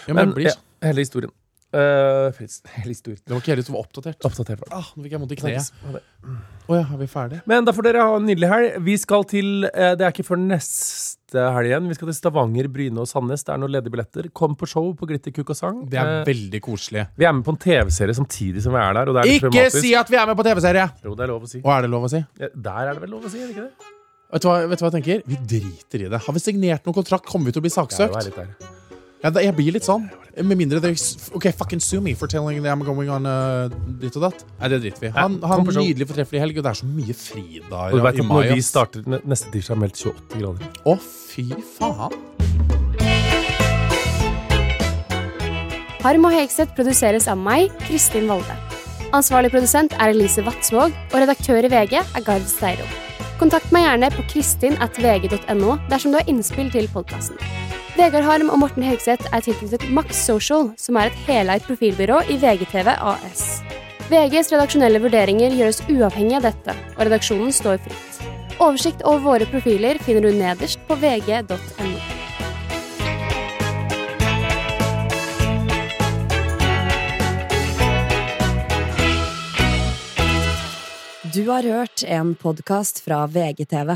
C: Ja, men,
B: Men
C: jeg blir, sånn.
B: ja, hele historien. Eh, Fritz, hele historien.
C: Det var ikke hele som var oppdatert.
B: Oppdatert var det.
C: Ah, nå fikk jeg vondt i
B: Knees.
C: kneet. Å ja, er vi ferdige?
B: Men da får dere ha en nydelig helg. Vi skal til eh, Det er ikke før neste helg igjen. Vi skal til Stavanger, Bryne og Sandnes. Det er noen ledige billetter. Kom på show på Glitter Kukk og Sang.
C: Det
B: Eh,
C: er veldig koselig.
B: vi er med på en TV-serie samtidig som vi er der. Og det er litt
C: Ikke
B: traumatisk.
C: si at vi er med på TV-serie!
B: Jo, det er lov å si.
C: Og er det lov å si?
B: Ja, Der er det vel lov å si, er det ikke det?
C: Vet du, hva, vet du hva jeg tenker? Vi driter i det. Har vi signert noen kontrakt? Kommer vi til å bli
B: Ja, det er
C: saksøkt?
B: litt der.
C: Ja, da- jeg blir litt sånn. Med mindre det OK, fucking sue me for telling that I'm going on uh, ditt og datt. Nei, det driter vi i. Han
B: Nei,
C: har
B: kom på
C: en
B: show.
C: nydelig fortreffelig helg, og det er så mye
B: Og
C: fridager
B: du vet
C: i
B: at
C: mai.
B: når vi
C: ass.
B: starter ne- neste tirsdag, er meldt 28 grader.
C: Å, fy faen.
G: Harm og Hegseth produseres av meg, Kristin Valde. Ansvarlig produsent er Elise Vatsvåg, og redaktør i VG er Gard Steiro. Kontakt meg gjerne på kristin.vg.no dersom du har innspill til podkasten. Vegard Harm og Morten Hegseth er tilknyttet Max Social, som er et heleid profilbyrå i VGTV AS. VGs redaksjonelle vurderinger gjøres uavhengig av dette, og redaksjonen står fritt. Oversikt over våre profiler finner du nederst på vg.no.
A: Du har hørt en podkast fra VGTV.